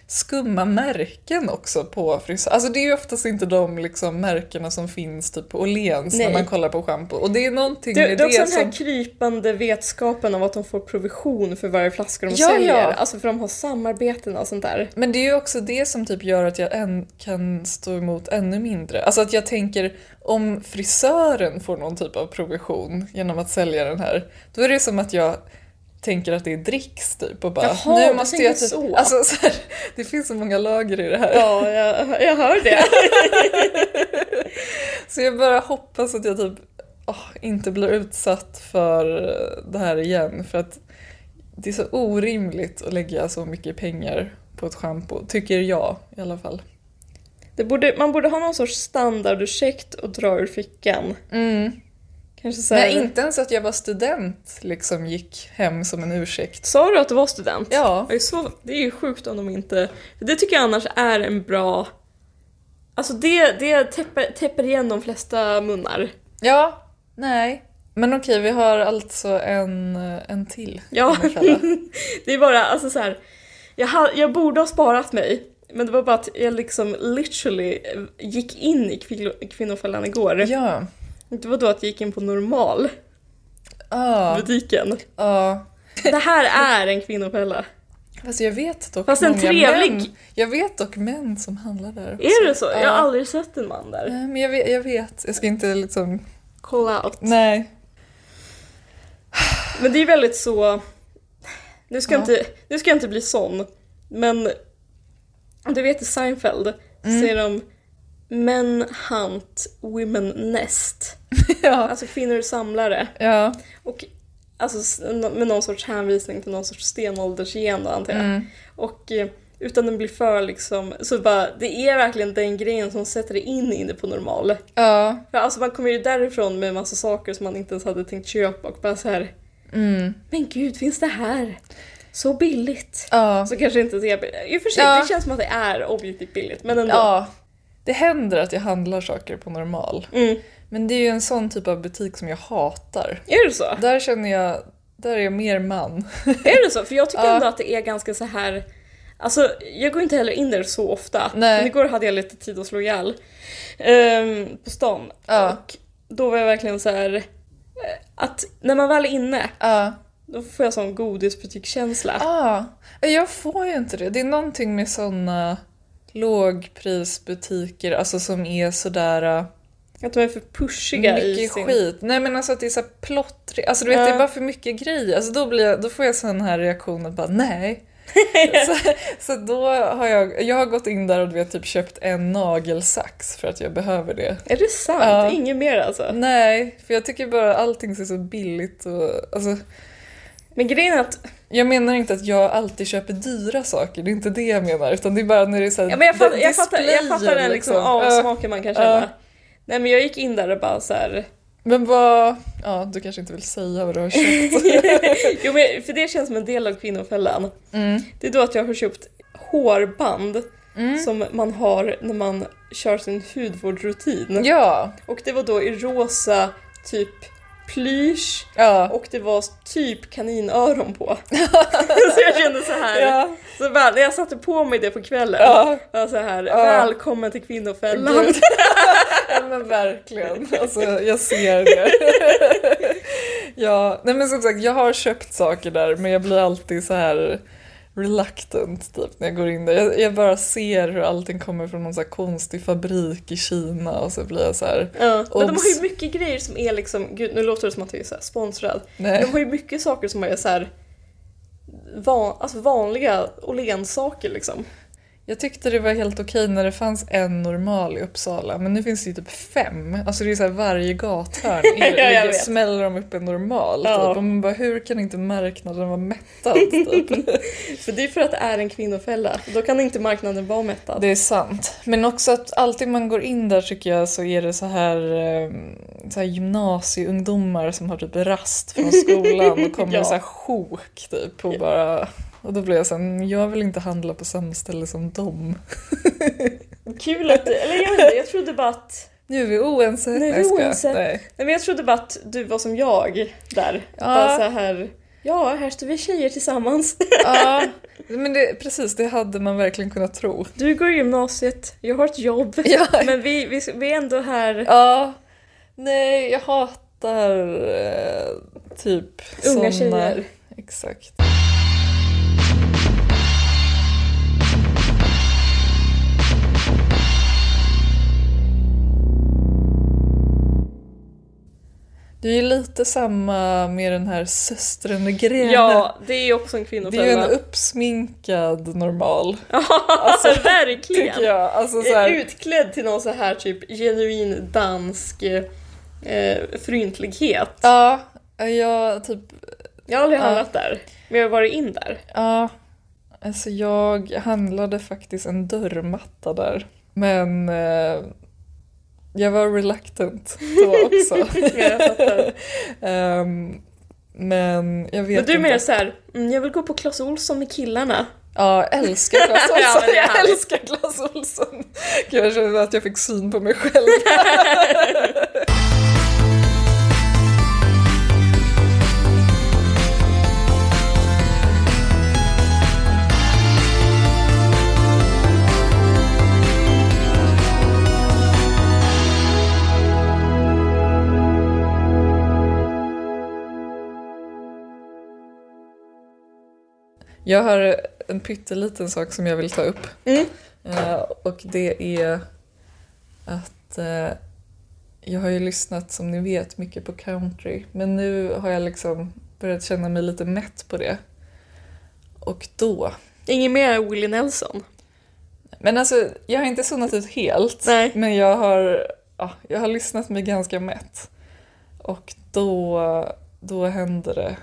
[SPEAKER 2] skumma märken också på frisör. Alltså det är ju oftast inte de liksom märkena som finns typ på Åhléns när
[SPEAKER 3] Nej.
[SPEAKER 2] man kollar på schampo. Och det är någonting
[SPEAKER 3] Det,
[SPEAKER 2] med
[SPEAKER 3] det är också
[SPEAKER 2] det
[SPEAKER 3] den här
[SPEAKER 2] som...
[SPEAKER 3] krypande vetskapen om att de får provision för varje flaska de
[SPEAKER 2] Ja,
[SPEAKER 3] säljer.
[SPEAKER 2] ja.
[SPEAKER 3] Alltså för de har samarbeten och sånt där.
[SPEAKER 2] Men det är ju också det som typ gör att jag än kan stå emot ännu mindre. Alltså att jag tänker om frisören får någon typ av provision genom att sälja den här, då är det som att jag tänker att det är dricks typ och bara
[SPEAKER 3] Jaha, du tänker
[SPEAKER 2] typ...
[SPEAKER 3] så.
[SPEAKER 2] Alltså så här, det finns så många lager i det här.
[SPEAKER 3] Ja, jag, jag hör det.
[SPEAKER 2] Så jag bara hoppas att jag typ åh, inte blir utsatt för eh, det här igen för att det är så orimligt att lägga så mycket pengar på ett schampo, tycker jag i alla fall.
[SPEAKER 3] det borde, man borde ha någon sorts standardursäkt och dra ur fickan. Kanske så här,
[SPEAKER 2] Nej, inte ens att jag var student liksom gick hem som en ursäkt.
[SPEAKER 3] Sa du att du var student?
[SPEAKER 2] Ja.
[SPEAKER 3] Det är, så, det är ju sjukt om de inte... för Det tycker jag annars är en bra... Alltså det, det täpper, täpper igen de flesta munnar.
[SPEAKER 2] Ja, nej. Men okej, vi har alltså en, en till.
[SPEAKER 3] Ja.
[SPEAKER 2] kan man kalla.
[SPEAKER 3] Det är bara, alltså så här, jag, ha, jag borde ha sparat mig. Men det var bara att jag liksom literally gick in i kvinno- kvinnofällan igår.
[SPEAKER 2] ja.
[SPEAKER 3] Det var då att jag gick in på normal
[SPEAKER 2] Ah,
[SPEAKER 3] butiken.
[SPEAKER 2] ah.
[SPEAKER 3] Det här är en kvinnofälla.
[SPEAKER 2] Fast jag vet dock
[SPEAKER 3] Fast en
[SPEAKER 2] många
[SPEAKER 3] trevlig-
[SPEAKER 2] män. Jag vet dock män som handlar där.
[SPEAKER 3] Är det så? Jag
[SPEAKER 2] Ja.
[SPEAKER 3] har aldrig sett en man där.
[SPEAKER 2] Nej, men jag vet, jag vet. Jag ska inte liksom...
[SPEAKER 3] Kolla out.
[SPEAKER 2] Nej.
[SPEAKER 3] Men det är väldigt så... Nu ska,
[SPEAKER 2] Ja.
[SPEAKER 3] jag inte, nu ska jag inte bli sån, men du vet i Seinfeld
[SPEAKER 2] Mm.
[SPEAKER 3] ser de Men hunt, women nest.
[SPEAKER 2] ja.
[SPEAKER 3] Alltså kvinnor samlare.
[SPEAKER 2] Ja.
[SPEAKER 3] Och alltså, s- med någon sorts hänvisning till någon sorts stenåldersgen då, antar jag.
[SPEAKER 2] Mm.
[SPEAKER 3] Och eh, utan den blir för liksom, så bara, det är verkligen den grejen som sätter dig in inne på normal.
[SPEAKER 2] Ja.
[SPEAKER 3] För alltså man kommer ju därifrån med massa saker som man inte ens hade tänkt köpa och bara så här
[SPEAKER 2] Mm.
[SPEAKER 3] men gud, finns det här? Så billigt.
[SPEAKER 2] Ja.
[SPEAKER 3] Så kanske inte så jag I och för sig,
[SPEAKER 2] Ja.
[SPEAKER 3] det känns som att det är objektivt billigt, men ändå.
[SPEAKER 2] ja. Det händer att jag handlar saker på normal.
[SPEAKER 3] Mm.
[SPEAKER 2] Men det är ju en sån typ av butik som jag hatar.
[SPEAKER 3] Är det så?
[SPEAKER 2] Där känner jag... Där är jag mer man.
[SPEAKER 3] Är det så? För jag tycker
[SPEAKER 2] Ja.
[SPEAKER 3] ändå att det är ganska så här... Alltså, jag går inte heller in där så ofta.
[SPEAKER 2] Nej.
[SPEAKER 3] Men igår hade jag lite tid att slå ihjäl ehm, på stan.
[SPEAKER 2] Ja.
[SPEAKER 3] Och då var jag verkligen så här... eh, Att när man väl är inne,
[SPEAKER 2] Ja.
[SPEAKER 3] då får jag sån godisbutikskänsla.
[SPEAKER 2] Ja, ah. Eh, jag får ju inte det. Det är någonting med såna lågprisbutiker alltså som är sådär uh,
[SPEAKER 3] Att de är för pushiga i
[SPEAKER 2] mycket
[SPEAKER 3] sin...
[SPEAKER 2] skit. Nej men alltså att det är så här plottrigt. Alltså du vet
[SPEAKER 3] Ja.
[SPEAKER 2] det är bara för mycket grejer. Alltså då, blir jag, då får jag sån här reaktion att bara nej. så, så då har jag, jag har gått in där och du vet typ köpt en nagelsax för att jag behöver det.
[SPEAKER 3] Är det sant?
[SPEAKER 2] Ja.
[SPEAKER 3] Inget mer alltså?
[SPEAKER 2] Nej, för jag tycker bara allting ser så billigt och alltså
[SPEAKER 3] Men grejen är att
[SPEAKER 2] Jag menar inte att jag alltid köper dyra saker, det är inte det jag menar. Utan det är bara när det är såhär
[SPEAKER 3] Ja, men jag, fatt, jag, fattar, jag
[SPEAKER 2] displayer,
[SPEAKER 3] fattar den liksom, avsmaken man kan känna.
[SPEAKER 2] Ja.
[SPEAKER 3] Nej men jag gick in där och bara så här.
[SPEAKER 2] Men vad... Ja, du kanske inte vill säga vad du har köpt.
[SPEAKER 3] jo men för det känns som en del av kvinnofällan.
[SPEAKER 2] Mm.
[SPEAKER 3] Det är då att jag har köpt hårband som man har när man kör sin hudvårdsrutin.
[SPEAKER 2] Ja,
[SPEAKER 3] Och det var då i rosa typ plysch
[SPEAKER 2] ja.
[SPEAKER 3] och det var typ kaninöron på. så jag kände så här.
[SPEAKER 2] Ja.
[SPEAKER 3] Så bara, när jag satte på mig det på kvällen.
[SPEAKER 2] Ja.
[SPEAKER 3] var jag så här, välkommen till kvinnofällan.
[SPEAKER 2] Gud. ja, men verkligen. Alltså, jag ser det. ja, nej men som sagt, jag har köpt saker där men jag blir alltid så här reluctant typ när jag går in där. Jag, jag bara ser hur allting kommer från någon så här konstig fabrik i Kina och så blir jag så här...
[SPEAKER 3] Ja, men de
[SPEAKER 2] Obs.
[SPEAKER 3] har ju mycket grejer som är liksom, gud nu låter det som att jag är så här sponsrad.
[SPEAKER 2] Nej.
[SPEAKER 3] De har ju mycket saker som är så här van, alltså vanliga Åhléns-saker liksom.
[SPEAKER 2] Jag tyckte det var helt okej när det fanns en normal i Uppsala, men nu finns det ju typ fem. Alltså det är så här varje gathörn är,
[SPEAKER 3] Ja, jag
[SPEAKER 2] ligger-
[SPEAKER 3] vet.
[SPEAKER 2] smäller de upp en normal.
[SPEAKER 3] Ja.
[SPEAKER 2] Typ. Och man bara, hur kan inte marknaden vara mättad? Typ?
[SPEAKER 3] För det är för att det är en kvinnofälla. Då kan inte marknaden vara mättad.
[SPEAKER 2] det är sant. Men också att alltid man går in där tycker jag så är det så här, eh, så här gymnasieungdomar som har typ rast från skolan och kommer
[SPEAKER 3] Ja.
[SPEAKER 2] i så här sjok typ. Och, bara, och då blir jag så här, "Men jag vill inte handla på samma ställe som dem.
[SPEAKER 3] Kul att du, eller jag vet inte, jag trodde bara att,
[SPEAKER 2] Nu är vi oense.
[SPEAKER 3] Nu är vi
[SPEAKER 2] Nej, jag skojar.
[SPEAKER 3] oense.
[SPEAKER 2] Nej.
[SPEAKER 3] nej men jag trodde bara att du var som jag där.
[SPEAKER 2] Ja.
[SPEAKER 3] Bara så här, ja här står vi tjejer tillsammans.
[SPEAKER 2] Ja, men det, precis, det hade man verkligen kunnat tro.
[SPEAKER 3] Du går i gymnasiet, jag har ett jobb.
[SPEAKER 2] Ja.
[SPEAKER 3] Men vi, vi, vi är ändå här,
[SPEAKER 2] Ja, nej, jag hatar eh, typ såna-
[SPEAKER 3] Unga tjejer.
[SPEAKER 2] Exakt. Det är ju lite samma med den här söstern grejen.
[SPEAKER 3] eh, ja det är ju också en
[SPEAKER 2] det är ju en
[SPEAKER 3] kvinnofälla.
[SPEAKER 2] uppsminkad normal,
[SPEAKER 3] Alltså verkligen!
[SPEAKER 2] tycker jag. Alltså, så
[SPEAKER 3] är
[SPEAKER 2] här,
[SPEAKER 3] utklädd till någon så här typ genuin dansk eh, fryntlighet.
[SPEAKER 2] Ja, jag typ...
[SPEAKER 3] Jag har aldrig
[SPEAKER 2] Ja.
[SPEAKER 3] handlat där, men jag har varit in där.
[SPEAKER 2] Ja. Alltså jag handlade faktiskt en dörrmatta där. Men eh, jag var reluctant då också.
[SPEAKER 3] Jag fattar.
[SPEAKER 2] Ehm, men jag vet
[SPEAKER 3] men du
[SPEAKER 2] inte.
[SPEAKER 3] menar så här, mm, jag vill gå på Clas Ohlson med killarna.
[SPEAKER 2] Ja, jag älskar Clas
[SPEAKER 3] Ja,
[SPEAKER 2] Ohlson.
[SPEAKER 3] men det är
[SPEAKER 2] jag
[SPEAKER 3] härligt.
[SPEAKER 2] älskar Clas Ohlson. Gud, jag känner att jag fick syn på mig själv. Jag har en pytteliten sak som jag vill ta upp.
[SPEAKER 3] Mm.
[SPEAKER 2] Eh, och det är att eh, jag har ju lyssnat, som ni vet, mycket på country. Men nu har jag liksom börjat känna mig lite mätt på det. Och då...
[SPEAKER 3] Inget mer Willie Nelson.
[SPEAKER 2] Men alltså, jag har inte zonat ut helt.
[SPEAKER 3] Nej.
[SPEAKER 2] Men jag har, ja, jag har lyssnat mig ganska mätt. Och då, då händer det.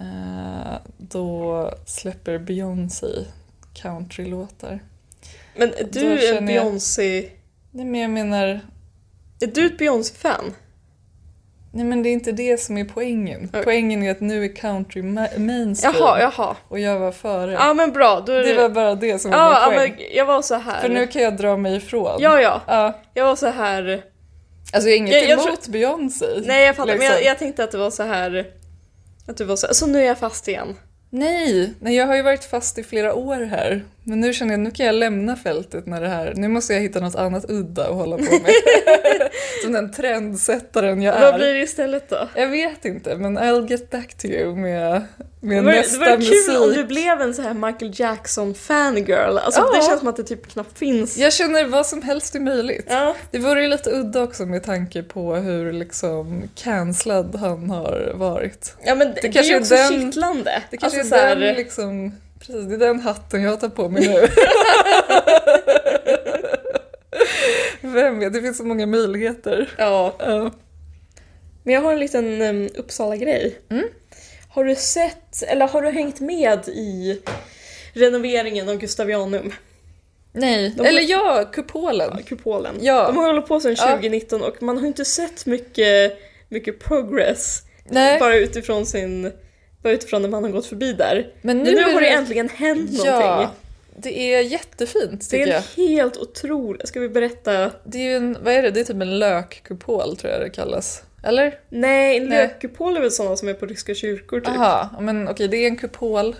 [SPEAKER 2] Eh, då släpper Beyoncé countrylåtar.
[SPEAKER 3] Men
[SPEAKER 2] Då
[SPEAKER 3] du är en
[SPEAKER 2] känner jag-
[SPEAKER 3] Beyoncé...
[SPEAKER 2] Nej men jag menar,
[SPEAKER 3] Är du ett Beyoncé-fan?
[SPEAKER 2] nej men det är inte det som är poängen.
[SPEAKER 3] Okej.
[SPEAKER 2] Poängen är att nu är country ma- mainstream
[SPEAKER 3] Jaha, jaha.
[SPEAKER 2] och jag var före.
[SPEAKER 3] Ja men bra, då är
[SPEAKER 2] Det var bara det som var
[SPEAKER 3] Ja,
[SPEAKER 2] min
[SPEAKER 3] ja,
[SPEAKER 2] poäng.
[SPEAKER 3] men jag var så här.
[SPEAKER 2] För nu kan jag dra mig ifrån.
[SPEAKER 3] Ja, ja.
[SPEAKER 2] Ja.
[SPEAKER 3] Jag var så här...
[SPEAKER 2] Alltså jag är inget
[SPEAKER 3] Jag- jag
[SPEAKER 2] emot Beyoncé.
[SPEAKER 3] Nej jag fattar, men jag,
[SPEAKER 2] liksom.
[SPEAKER 3] jag tänkte att det var så här... Att du var så så nu är jag fast igen.
[SPEAKER 2] Nej, nej, jag har ju varit fast i flera år här. Men nu känner jag nu kan jag lämna fältet när det här... Nu måste jag hitta något annat udda att hålla på med. Som den trendsättaren jag
[SPEAKER 3] Vad
[SPEAKER 2] är.
[SPEAKER 3] blir det istället då?
[SPEAKER 2] Jag vet inte, men I'll get back to you med,
[SPEAKER 3] Det
[SPEAKER 2] med
[SPEAKER 3] var, det
[SPEAKER 2] nästa
[SPEAKER 3] var
[SPEAKER 2] musik.
[SPEAKER 3] kul om du blev en så här Michael Jackson fangirl. Alltså
[SPEAKER 2] Ja.
[SPEAKER 3] det känns som att det typ knappt finns.
[SPEAKER 2] Jag känner vad som helst är möjligt.
[SPEAKER 3] Ja.
[SPEAKER 2] Det vore ju lite udda också med tanke på hur liksom cancellad han har varit.
[SPEAKER 3] Ja men det, det,
[SPEAKER 2] kanske
[SPEAKER 3] är
[SPEAKER 2] är
[SPEAKER 3] också
[SPEAKER 2] den-
[SPEAKER 3] kittlande.
[SPEAKER 2] Det kanske
[SPEAKER 3] alltså, så
[SPEAKER 2] är
[SPEAKER 3] här,
[SPEAKER 2] den liksom... Precis, det är den hatten jag tar på mig nu. Vem vet, det finns så många möjligheter.
[SPEAKER 3] Ja.
[SPEAKER 2] Ja.
[SPEAKER 3] Men jag har en liten um, Uppsala-grej.
[SPEAKER 2] Mm.
[SPEAKER 3] Har du sett, eller har du hängt med i renoveringen av Gustavianum?
[SPEAKER 2] Nej.
[SPEAKER 3] De-
[SPEAKER 2] Eller ja, kupolen.
[SPEAKER 3] Kupolen.
[SPEAKER 2] Ja.
[SPEAKER 3] De har hållit på sedan
[SPEAKER 2] Ja.
[SPEAKER 3] 2019 och man har inte sett mycket, mycket progress.
[SPEAKER 2] Nej,
[SPEAKER 3] Bara utifrån sin... Bara utifrån när man har gått förbi där.
[SPEAKER 2] men nu,
[SPEAKER 3] Men nu
[SPEAKER 2] är
[SPEAKER 3] har det äntligen hänt
[SPEAKER 2] Ja,
[SPEAKER 3] någonting.
[SPEAKER 2] det är jättefint
[SPEAKER 3] Det
[SPEAKER 2] tycker
[SPEAKER 3] är
[SPEAKER 2] jag.
[SPEAKER 3] en helt otroligt... Ska vi berätta?
[SPEAKER 2] Det är ju en, vad är det? Det är typ en lökkupol tror jag det kallas. Eller?
[SPEAKER 3] Nej, en
[SPEAKER 2] Nej.
[SPEAKER 3] lökkupol är väl sådana som är på ryska kyrkor typ.
[SPEAKER 2] Aha, men okej det är en kupol.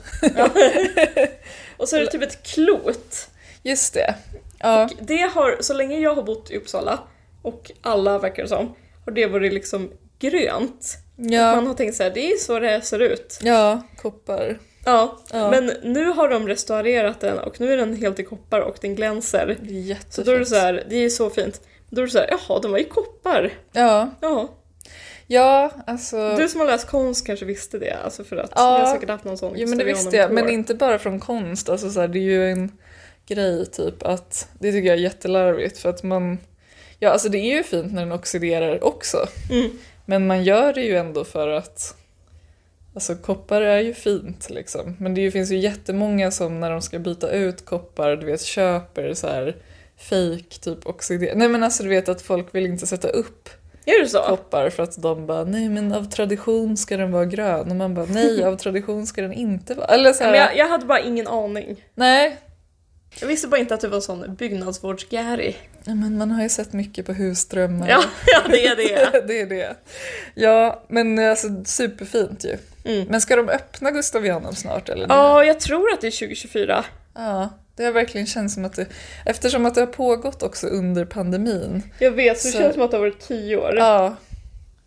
[SPEAKER 3] Och så är det typ ett klot.
[SPEAKER 2] Just det. Ja.
[SPEAKER 3] Och det har, så länge jag har bott i Uppsala, och alla verkar det som, har det varit liksom grönt. Man
[SPEAKER 2] Ja.
[SPEAKER 3] har tänkt så här, det är ju så det här ser ut.
[SPEAKER 2] ja, koppar.
[SPEAKER 3] Ja,
[SPEAKER 2] Ja.
[SPEAKER 3] men nu har de restaurerat den och nu är den helt i koppar och den glänser.
[SPEAKER 2] Det är jättefint.
[SPEAKER 3] Så då är det så här, det är så fint. Då är det så här, jaha, den var i koppar.
[SPEAKER 2] Ja,
[SPEAKER 3] Ja.
[SPEAKER 2] ja alltså.
[SPEAKER 3] Du som har läst konst kanske visste det, alltså för att
[SPEAKER 2] Ja.
[SPEAKER 3] jag har säkert haft någon sån
[SPEAKER 2] Jo men det
[SPEAKER 3] Gustav
[SPEAKER 2] visste jag, men
[SPEAKER 3] Janum-tår.
[SPEAKER 2] inte bara från konst. Alltså, så här, det är ju en grej typ att, det tycker jag är jättelarvigt för att man, ja alltså det är ju fint när den oxiderar också.
[SPEAKER 3] Mm.
[SPEAKER 2] Men man gör det ju ändå för att, alltså koppar är ju fint liksom. Men det ju- finns ju jättemånga som när de ska byta ut koppar, du vet köper så här fake typ oxider. Nej men alltså du vet att folk vill inte sätta upp
[SPEAKER 3] Är det så?
[SPEAKER 2] koppar för att de bara nej men av tradition ska den vara grön och man bara nej av tradition ska den inte vara. Eller så här,
[SPEAKER 3] Men jag, jag hade bara ingen aning.
[SPEAKER 2] nej.
[SPEAKER 3] Jag visste bara inte att du var en sån byggnadsvårdsgäri.
[SPEAKER 2] Ja, Men man har ju sett mycket på husdrömmar.
[SPEAKER 3] Ja, ja, det är det.
[SPEAKER 2] det är det. Ja men alltså superfint ju.
[SPEAKER 3] Mm.
[SPEAKER 2] Men ska de öppna Gustav Janum snart eller?
[SPEAKER 3] Ja, jag tror att det är 2024.
[SPEAKER 2] ja. Det har verkligen känts som att det, eftersom att det har pågått också under pandemin.
[SPEAKER 3] Jag vet, så det
[SPEAKER 2] Så-
[SPEAKER 3] känns som att det har varit tio år.
[SPEAKER 2] Ja.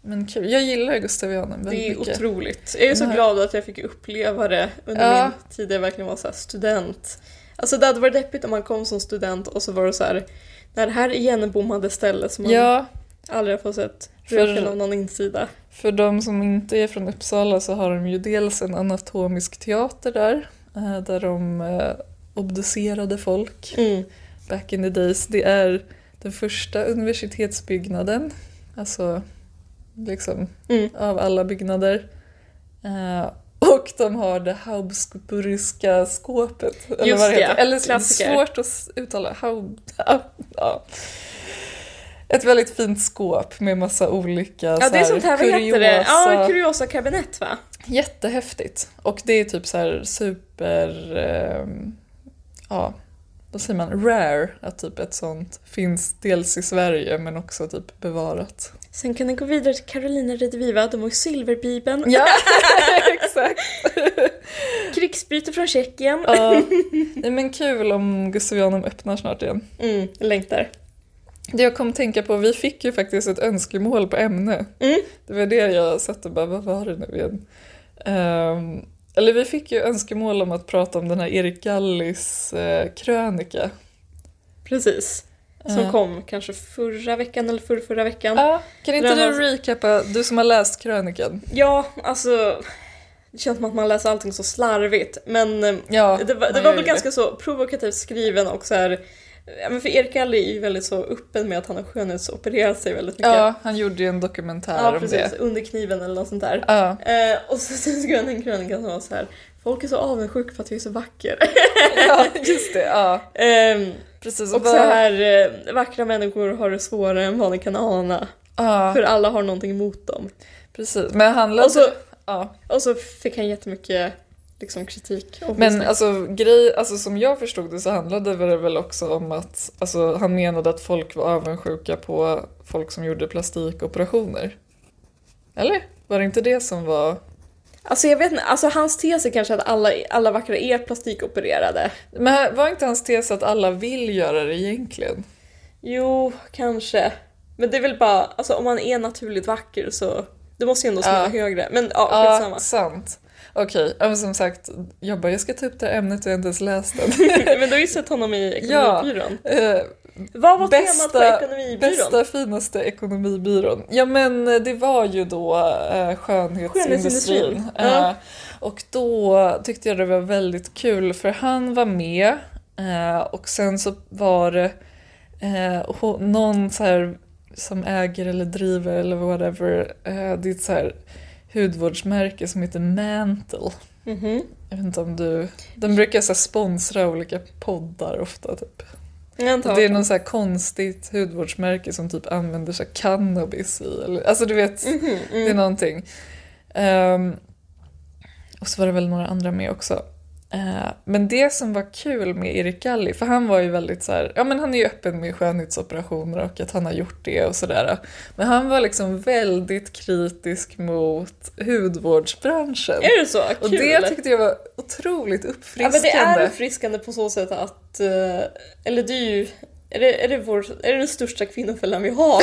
[SPEAKER 2] Men kul. Jag gillar Gustav Janum väldigt
[SPEAKER 3] det är
[SPEAKER 2] mycket.
[SPEAKER 3] otroligt. Jag är så
[SPEAKER 2] Den här-
[SPEAKER 3] glad att jag fick uppleva det under
[SPEAKER 2] Ja.
[SPEAKER 3] min tid där jag verkligen var så här student. Alltså det hade varit deppigt om man kom som student och så var det så här, när det här igenbommade stället som man
[SPEAKER 2] Ja,
[SPEAKER 3] aldrig har fått sett
[SPEAKER 2] För-
[SPEAKER 3] röken av någon insida.
[SPEAKER 2] För de som inte är från Uppsala så har de ju dels en anatomisk teater där, eh, där de eh, obducerade folk
[SPEAKER 3] Mm.
[SPEAKER 2] back in the days. Det är den första universitetsbyggnaden, alltså liksom
[SPEAKER 3] Mm.
[SPEAKER 2] av alla byggnader. Eh, Och de har det Habsburgska skåpet.
[SPEAKER 3] Just
[SPEAKER 2] vad
[SPEAKER 3] det,
[SPEAKER 2] heter. Eller
[SPEAKER 3] klassiker.
[SPEAKER 2] svårt att s- uttala. Haub, ja. Ett väldigt fint skåp med massa olika
[SPEAKER 3] Ja, det är
[SPEAKER 2] så
[SPEAKER 3] sånt här, vad heter det? Ja,
[SPEAKER 2] kuriosa-
[SPEAKER 3] kuriosa kabinett va?
[SPEAKER 2] Jättehäftigt. Och det är typ så här super... ehm, ja, vad säger man, rare att typ ett sånt finns dels i Sverige men också typ bevarat.
[SPEAKER 3] Sen kan den gå vidare till Carolina Rediviva, de har ju Silverbibeln,
[SPEAKER 2] Ja, exakt.
[SPEAKER 3] krigsbyte från Tjeckien.
[SPEAKER 2] Ja. Nej, men kul om Gustavianum öppnar snart igen.
[SPEAKER 3] Mm, längtar.
[SPEAKER 2] Det jag kom att tänka på, vi fick ju faktiskt ett önskemål på ämne.
[SPEAKER 3] Mm.
[SPEAKER 2] Det var det jag satt och bara, vad var det nu igen? Ehm, eller vi fick ju önskemål om att prata om den här Erik Gallis eh, krönika.
[SPEAKER 3] Precis. Som
[SPEAKER 2] Eh,
[SPEAKER 3] kom kanske förra veckan eller förra, förra veckan.
[SPEAKER 2] Ja, kan inte
[SPEAKER 3] Den
[SPEAKER 2] du
[SPEAKER 3] har-
[SPEAKER 2] recapa, du som har läst krönikan?
[SPEAKER 3] Ja, alltså... Det känns som att man läser allting så slarvigt. Men eh,
[SPEAKER 2] Ja,
[SPEAKER 3] det var,
[SPEAKER 2] man
[SPEAKER 3] det var
[SPEAKER 2] gör
[SPEAKER 3] väl
[SPEAKER 2] ju
[SPEAKER 3] ganska så provokativt skriven och så här... Ja, men för Erik Alli är ju väldigt så öppen med att han har skönhetsopererat sig väldigt mycket.
[SPEAKER 2] Ja, han gjorde ju en dokumentär
[SPEAKER 3] ja
[SPEAKER 2] om
[SPEAKER 3] precis.
[SPEAKER 2] det.
[SPEAKER 3] Under kniven eller något sånt där.
[SPEAKER 2] Ja.
[SPEAKER 3] Eh, och så sen skrev han en krönika som var så här. Folk är så avundsjuka för att jag är så vacker.
[SPEAKER 2] ja, just det. Ja.
[SPEAKER 3] Ehm,
[SPEAKER 2] Precis.
[SPEAKER 3] och så här, eh, vackra människor har det svårare än vad ni kan ana.
[SPEAKER 2] Ja,
[SPEAKER 3] För alla har någonting emot dem.
[SPEAKER 2] precis. Men han läste...
[SPEAKER 3] Och så,
[SPEAKER 2] ja.
[SPEAKER 3] och så fick han jättemycket liksom, kritik.
[SPEAKER 2] Men alltså, grej, alltså som jag förstod det så handlade det väl också om att alltså, han menade att folk var avundsjuka på folk som gjorde plastikoperationer. Eller? Var det inte det som var...
[SPEAKER 3] Alltså jag vet inte, alltså hans tes är kanske att alla, alla vackra är plastikopererade.
[SPEAKER 2] Men var inte hans tes att alla vill göra det egentligen?
[SPEAKER 3] Jo, kanske. Men det är väl bara, alltså om man är naturligt vacker så det måste ju ändå smälla
[SPEAKER 2] Ja.
[SPEAKER 3] högre. Men ja,
[SPEAKER 2] Ja,
[SPEAKER 3] skitsamma.
[SPEAKER 2] sant. Okej, ja, men som sagt, jag bara, jag ska ta upp det här ämnet och jag har inte ens läst den.
[SPEAKER 3] Men du har ju sett honom i
[SPEAKER 2] Ja.
[SPEAKER 3] Ekonomibyrån.
[SPEAKER 2] Eh,
[SPEAKER 3] Vad var temat på
[SPEAKER 2] bästa,
[SPEAKER 3] Ekonomibyrån?
[SPEAKER 2] bästa finaste ekonomibyrån. Ja men eh, det var ju då eh, skönhetsindustrin.
[SPEAKER 3] Skönhetsindustrin, ja.
[SPEAKER 2] Eh, och då tyckte jag det var väldigt kul för han var med eh, och sen så var det eh, ho- någon så här som äger eller driver eller whatever eh, det är ett så här hudvårdsmärke som heter Mantle.
[SPEAKER 3] Mhm.
[SPEAKER 2] Jag vet inte om du... De brukar så här sponsra olika poddar ofta typ.
[SPEAKER 3] Antagligen.
[SPEAKER 2] Det är någon så här konstigt hudvårdsmärke som typ använder så här cannabis i. Eller, alltså du vet,
[SPEAKER 3] Mhm, mm.
[SPEAKER 2] det är någonting. Ehm, och så var det väl några andra med också. Eh, men det som var kul med Erik Galli, för han var ju väldigt så här, ja men han är ju öppen med skönhetsoperationer och att han har gjort det och sådär. Men han var liksom väldigt kritisk mot hudvårdsbranschen.
[SPEAKER 3] Är det så? Kul!
[SPEAKER 2] Och det tyckte jag var otroligt
[SPEAKER 3] ja,
[SPEAKER 2] uppfriskande.
[SPEAKER 3] men det är uppfriskande på så sätt att, eh, eller det är ju, är det, är det, vår, är det den största kvinnofällan vi har?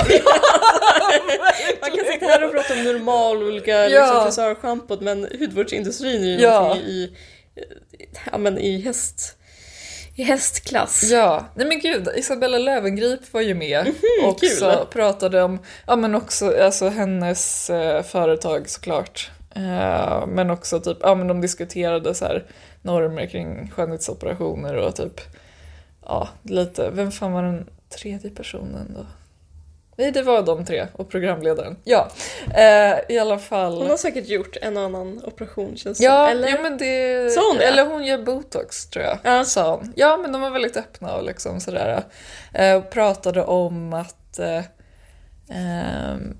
[SPEAKER 3] Man kan sitta här och prata om normal olika
[SPEAKER 2] Ja.
[SPEAKER 3] liksom, frisörschampot men hudvårdsindustrin är ju
[SPEAKER 2] Ja.
[SPEAKER 3] någonting i, ja, men i, häst, i hästklass.
[SPEAKER 2] Ja, nej men gud, Isabella Löwengrip var ju med och
[SPEAKER 3] kul.
[SPEAKER 2] så pratade om, ja men också alltså hennes eh, företag såklart. Eh, men också typ, ja men de diskuterade så här normer kring skönhetsoperationer och typ, ja lite, vem fan var den tredje personen då? Nej det var de tre och programledaren. Ja, eh, i alla fall.
[SPEAKER 3] Hon har säkert gjort en och annan operation känns det
[SPEAKER 2] Ja,
[SPEAKER 3] som. Eller?
[SPEAKER 2] ja men det...
[SPEAKER 3] Sa hon det?
[SPEAKER 2] Eller hon gör botox tror jag.
[SPEAKER 3] Ja.
[SPEAKER 2] Sa hon. Ja men de var väldigt öppna och liksom sådär. Eh, och pratade om att... Eh, ehm,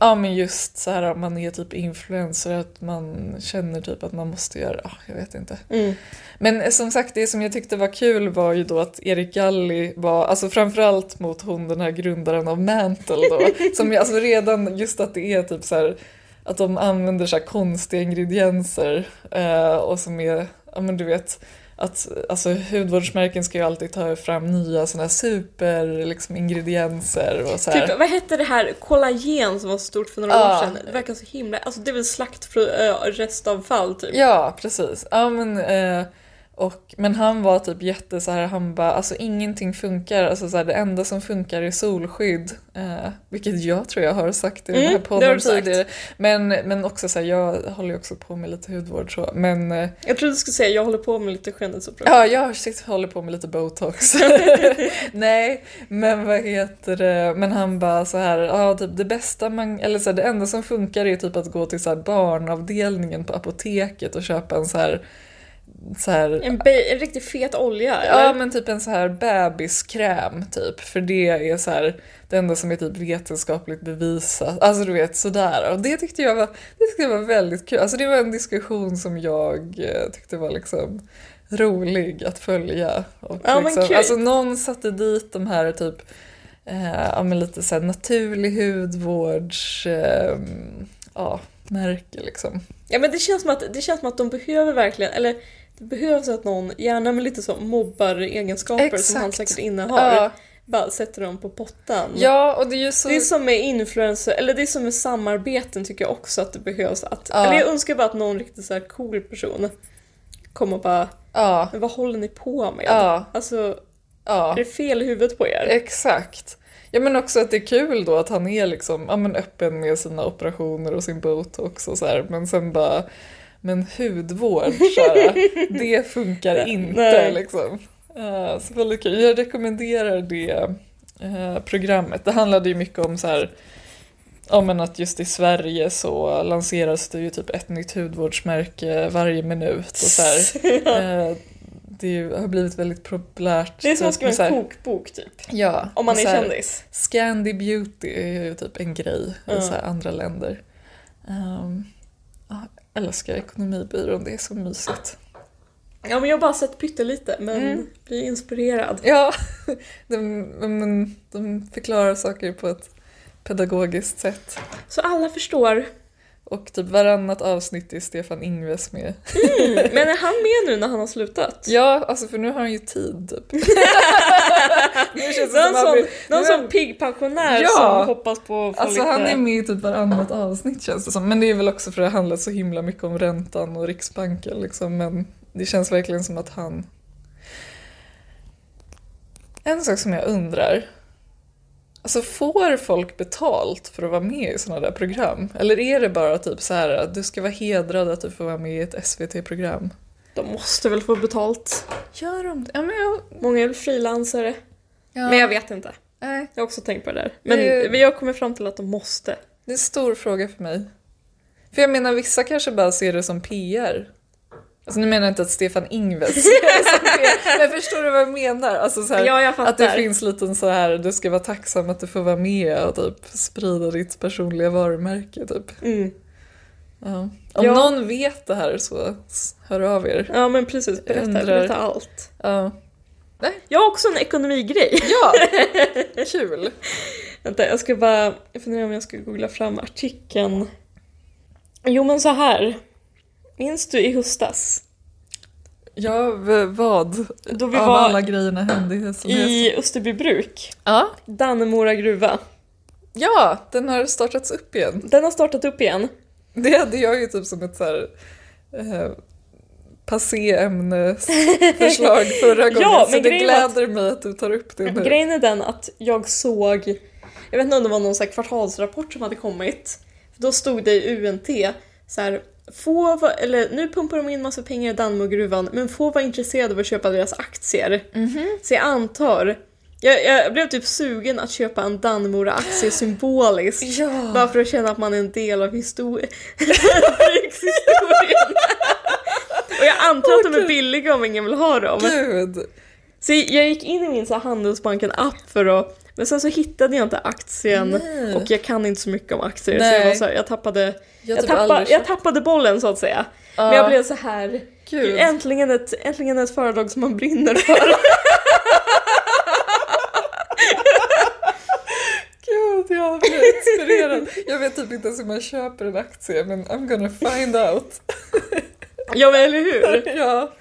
[SPEAKER 2] ja men just så här om man är typ influencer att man känner typ att man måste göra... ah, Jag vet inte.
[SPEAKER 3] Mm.
[SPEAKER 2] Men eh, som sagt det som jag tyckte var kul var ju då att Erik Galli var, alltså framförallt mot hon den här grundaren av Mantle då. som ju, alltså redan just att det är typ så här att de använder så här konstiga ingredienser eh, och som är, ja men du vet, att alltså, hudvårdsmärken ska ju alltid ta fram nya såna här super liksom, ingredienser och så här.
[SPEAKER 3] Typ, vad hette det här kollagen som var så stort för några
[SPEAKER 2] Ja.
[SPEAKER 3] år sedan? Det verkar så himla... Alltså det är väl slaktrestavfall typ.
[SPEAKER 2] Ja, precis. Ja, men, eh, och, men han var typ jätte så här, han bara, alltså ingenting funkar, alltså så här, det enda som funkar är solskydd. Eh, vilket jag tror jag har sagt i den här
[SPEAKER 3] Mm, det har
[SPEAKER 2] podden
[SPEAKER 3] du sagt.
[SPEAKER 2] tidigare. Men, men också så här, jag håller ju också på med lite hudvård så, men eh,
[SPEAKER 3] Jag trodde du skulle säga jag håller på med lite skönhetsoperation.
[SPEAKER 2] Ja, jag sitter- håller på med lite botox. Nej, men vad heter det? Men han bara så här, ja typ det bästa man, eller så här, det enda som funkar är typ att gå till så här barnavdelningen på apoteket och köpa en så här, så här
[SPEAKER 3] En, be- en riktigt fet olja eller?
[SPEAKER 2] Ja men typ en så här bebiskräm typ, för det är så här det enda som är typ vetenskapligt bevisat. Alltså du vet sådär. Och det tyckte jag var, det tyckte jag var väldigt kul. Alltså det var en diskussion som jag eh, tyckte var liksom rolig att följa. Och
[SPEAKER 3] Ja, men
[SPEAKER 2] liksom,
[SPEAKER 3] kul.
[SPEAKER 2] alltså någon satte dit de här typ eh, ja, men lite så här naturlig hudvårds eh, ja, märke liksom.
[SPEAKER 3] Ja men det känns som att, det känns som att de behöver verkligen, eller det behövs att någon, gärna med lite så mobbaregenskaper som han
[SPEAKER 2] Exakt.
[SPEAKER 3] säkert innehar,
[SPEAKER 2] Ja,
[SPEAKER 3] bara sätter dem på pottan.
[SPEAKER 2] ja, och det är ju så...
[SPEAKER 3] Mm. Det är som med influencer, eller det är som med samarbeten tycker jag också att det behövs att,
[SPEAKER 2] Ja.
[SPEAKER 3] eller jag önskar bara att någon riktigt så här cool person kommer och bara
[SPEAKER 2] ja,
[SPEAKER 3] Men vad håller ni på med?
[SPEAKER 2] Ja.
[SPEAKER 3] Alltså,
[SPEAKER 2] ja.
[SPEAKER 3] är det fel i huvudet på er?
[SPEAKER 2] Exakt. Ja men också att det är kul då att han är liksom, ja, men öppen med sina operationer och sin botox och så här. men sen bara, men hudvård så här, det funkar inte
[SPEAKER 3] Nej.
[SPEAKER 2] liksom. Eh, så väldigt kul. Jag rekommenderar det eh, programmet. Det handlade ju mycket om så här, ja men att just i Sverige så lanseras det ju typ ett nytt hudvårdsmärke varje minut och så här. Eh, det är ju, har blivit väldigt populärt.
[SPEAKER 3] Det är som
[SPEAKER 2] typ
[SPEAKER 3] att skriva
[SPEAKER 2] med så här-
[SPEAKER 3] en kokbok typ.
[SPEAKER 2] Ja,
[SPEAKER 3] Om man
[SPEAKER 2] och
[SPEAKER 3] är
[SPEAKER 2] så här,
[SPEAKER 3] kändis.
[SPEAKER 2] Scandi beauty är ju typ en grej i
[SPEAKER 3] Ja.
[SPEAKER 2] så här andra länder. Um, ja, jag älskar ekonomibyrån, det är så mysigt.
[SPEAKER 3] Ja men jag har bara sett pyttelite men
[SPEAKER 2] Mm.
[SPEAKER 3] blir inspirerad.
[SPEAKER 2] Ja, de, men de förklarar saker på ett pedagogiskt sätt.
[SPEAKER 3] Så alla förstår.
[SPEAKER 2] Och typ varannat avsnitt är Stefan Ingves med.
[SPEAKER 3] Men är han med nu när han har slutat?
[SPEAKER 2] Ja, alltså för nu har han ju tid typ. nu känns det
[SPEAKER 3] Någon
[SPEAKER 2] som att han
[SPEAKER 3] sån,
[SPEAKER 2] blir-
[SPEAKER 3] någon
[SPEAKER 2] nu-
[SPEAKER 3] sån pigg pensionär
[SPEAKER 2] Ja.
[SPEAKER 3] som hoppas på att få
[SPEAKER 2] Alltså
[SPEAKER 3] lite...
[SPEAKER 2] han är med i typ varannat avsnitt känns det som. Men det är väl också för att det handlar så himla mycket om räntan och Riksbanken liksom. Men det känns verkligen som att han... En sak som jag undrar. Alltså får folk betalt för att vara med i sådana där program? Eller är det bara typ så här att du ska vara hedrad att du får vara med i ett SVT-program?
[SPEAKER 3] De måste väl få betalt.
[SPEAKER 2] Gör de det? Ja, men jag...
[SPEAKER 3] Många är väl frilansare.
[SPEAKER 2] Ja.
[SPEAKER 3] Men jag vet inte.
[SPEAKER 2] Nej,
[SPEAKER 3] Jag har också tänkt på det där. Men
[SPEAKER 2] Det-
[SPEAKER 3] men jag kommer fram till att de måste.
[SPEAKER 2] det är en stor fråga för mig. För jag menar, vissa kanske bara ser det som PR. Alltså nu menar jag inte att Stefan Ingves ser det som PR, men förstår du vad jag menar? Alltså så här,
[SPEAKER 3] Ja, jag
[SPEAKER 2] att det
[SPEAKER 3] fattar.
[SPEAKER 2] finns lite så här, du ska vara tacksam att du får vara med och typ sprida ditt personliga varumärke typ.
[SPEAKER 3] Mm.
[SPEAKER 2] Ja. Om
[SPEAKER 3] Ja.
[SPEAKER 2] någon vet det här så s- hör av er.
[SPEAKER 3] Ja men precis, berätta,
[SPEAKER 2] Undrar.
[SPEAKER 3] berätta allt.
[SPEAKER 2] Ja,
[SPEAKER 3] Jag har också en ekonomigrej.
[SPEAKER 2] ja. kul!
[SPEAKER 3] Vänta, jag ska bara jag funderar om jag ska googla fram artikeln. Jo men så här. Minns du i höstas?
[SPEAKER 2] Ja, v- vad?
[SPEAKER 3] Då vi
[SPEAKER 2] Av alla
[SPEAKER 3] var
[SPEAKER 2] grejerna hände i som helst.
[SPEAKER 3] i Österbybruk,
[SPEAKER 2] Ja.
[SPEAKER 3] Dannemora gruva.
[SPEAKER 2] ja, den har startats upp igen.
[SPEAKER 3] Den har startat upp igen.
[SPEAKER 2] Det hade jag ju typ som ett så här, eh, passéämnesförslag förra gången.
[SPEAKER 3] Ja,
[SPEAKER 2] så
[SPEAKER 3] men
[SPEAKER 2] det
[SPEAKER 3] grejen var att-
[SPEAKER 2] gläder mig att du tar upp det nu.
[SPEAKER 3] Grejen är den att jag såg, jag vet inte om det var någon så här kvartalsrapport som hade kommit. För då stod det i UNT så här, få va- eller nu pumpar de in massa pengar i Dannemorgruvan men få vara intresserade av att köpa deras aktier.
[SPEAKER 2] Mhm.
[SPEAKER 3] Så jag antar, jag, jag blev typ sugen att köpa en Dannemora-aktie symboliskt.
[SPEAKER 2] Ja.
[SPEAKER 3] Bara för att känna att man är en del av histori- rikshistorien. Och jag antar att de är billiga om ingen vill ha dem.
[SPEAKER 2] Gud!
[SPEAKER 3] Så jag gick in i min så här Handelsbanken-app för att... Men sen så hittade jag inte aktien
[SPEAKER 2] Nej.
[SPEAKER 3] och jag kan inte så mycket om aktier så
[SPEAKER 2] Nej.
[SPEAKER 3] jag, var så här, jag tappade...
[SPEAKER 2] Jag
[SPEAKER 3] Jag,
[SPEAKER 2] typ
[SPEAKER 3] tappade,
[SPEAKER 2] aldrig
[SPEAKER 3] jag tappade bollen så att säga.
[SPEAKER 2] Ja.
[SPEAKER 3] Men jag blev så här...
[SPEAKER 2] Gud.
[SPEAKER 3] Äntligen ett, äntligen ett företag som man brinner för.
[SPEAKER 2] Gud, jag blir inspirerad. jag vet typ inte ens hur man köper en aktie men I'm gonna find out.
[SPEAKER 3] ja men eller hur?
[SPEAKER 2] ja.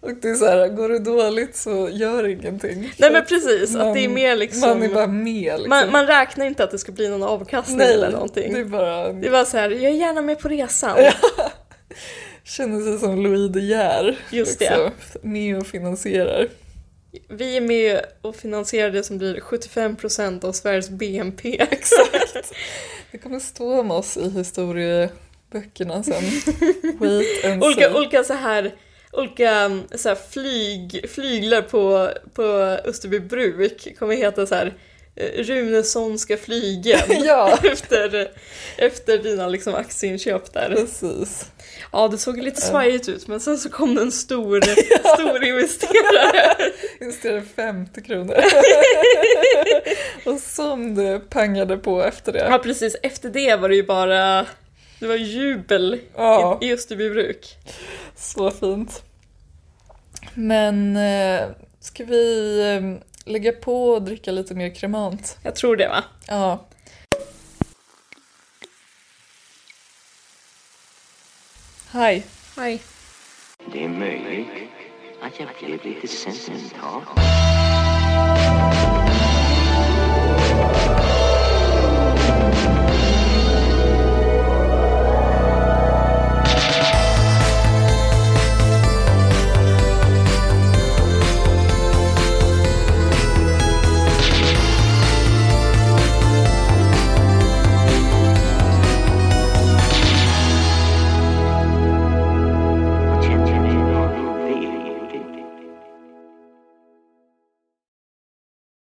[SPEAKER 2] Och det är så här, går det dåligt så gör ingenting.
[SPEAKER 3] Nej men precis, att det är
[SPEAKER 2] Man-
[SPEAKER 3] mer liksom...
[SPEAKER 2] Man är bara med liksom.
[SPEAKER 3] man, man räknar inte att det ska bli någon avkastning
[SPEAKER 2] Nej,
[SPEAKER 3] eller någonting.
[SPEAKER 2] Det är bara
[SPEAKER 3] Det var så här, jag är gärna med på resan.
[SPEAKER 2] känner sig som Louis De Geer. liksom,
[SPEAKER 3] Just det.
[SPEAKER 2] Med och finansierar.
[SPEAKER 3] Vi är med och finansierar det som blir 75% av Sveriges BNP.
[SPEAKER 2] Det kommer stå om oss i historieböckerna sen. Wait and
[SPEAKER 3] olika,
[SPEAKER 2] see.
[SPEAKER 3] olika så här Olika um, så här flyg, flyglar på, på Österbybruk kommer heta så här eh, Runessonska flygen
[SPEAKER 2] Ja,
[SPEAKER 3] efter, efter dina liksom aktieinköp där. Eh.
[SPEAKER 2] precis.
[SPEAKER 3] Ja, det såg lite svajigt ut men sen så kom det en stor, stor investerare.
[SPEAKER 2] Investerar 50 kronor. och som det pangade på efter
[SPEAKER 3] Ja,
[SPEAKER 2] det.
[SPEAKER 3] precis. Efter det var det ju bara det var jubel
[SPEAKER 2] Ja,
[SPEAKER 3] i, i Österbybruk.
[SPEAKER 2] så fint. Men eh, ska vi eh, lägga på och dricka lite mer kremant?
[SPEAKER 3] Jag tror det va?
[SPEAKER 2] Ja. Hej.
[SPEAKER 3] Nej.
[SPEAKER 1] Det är möjligt att jag blev lite sentimental.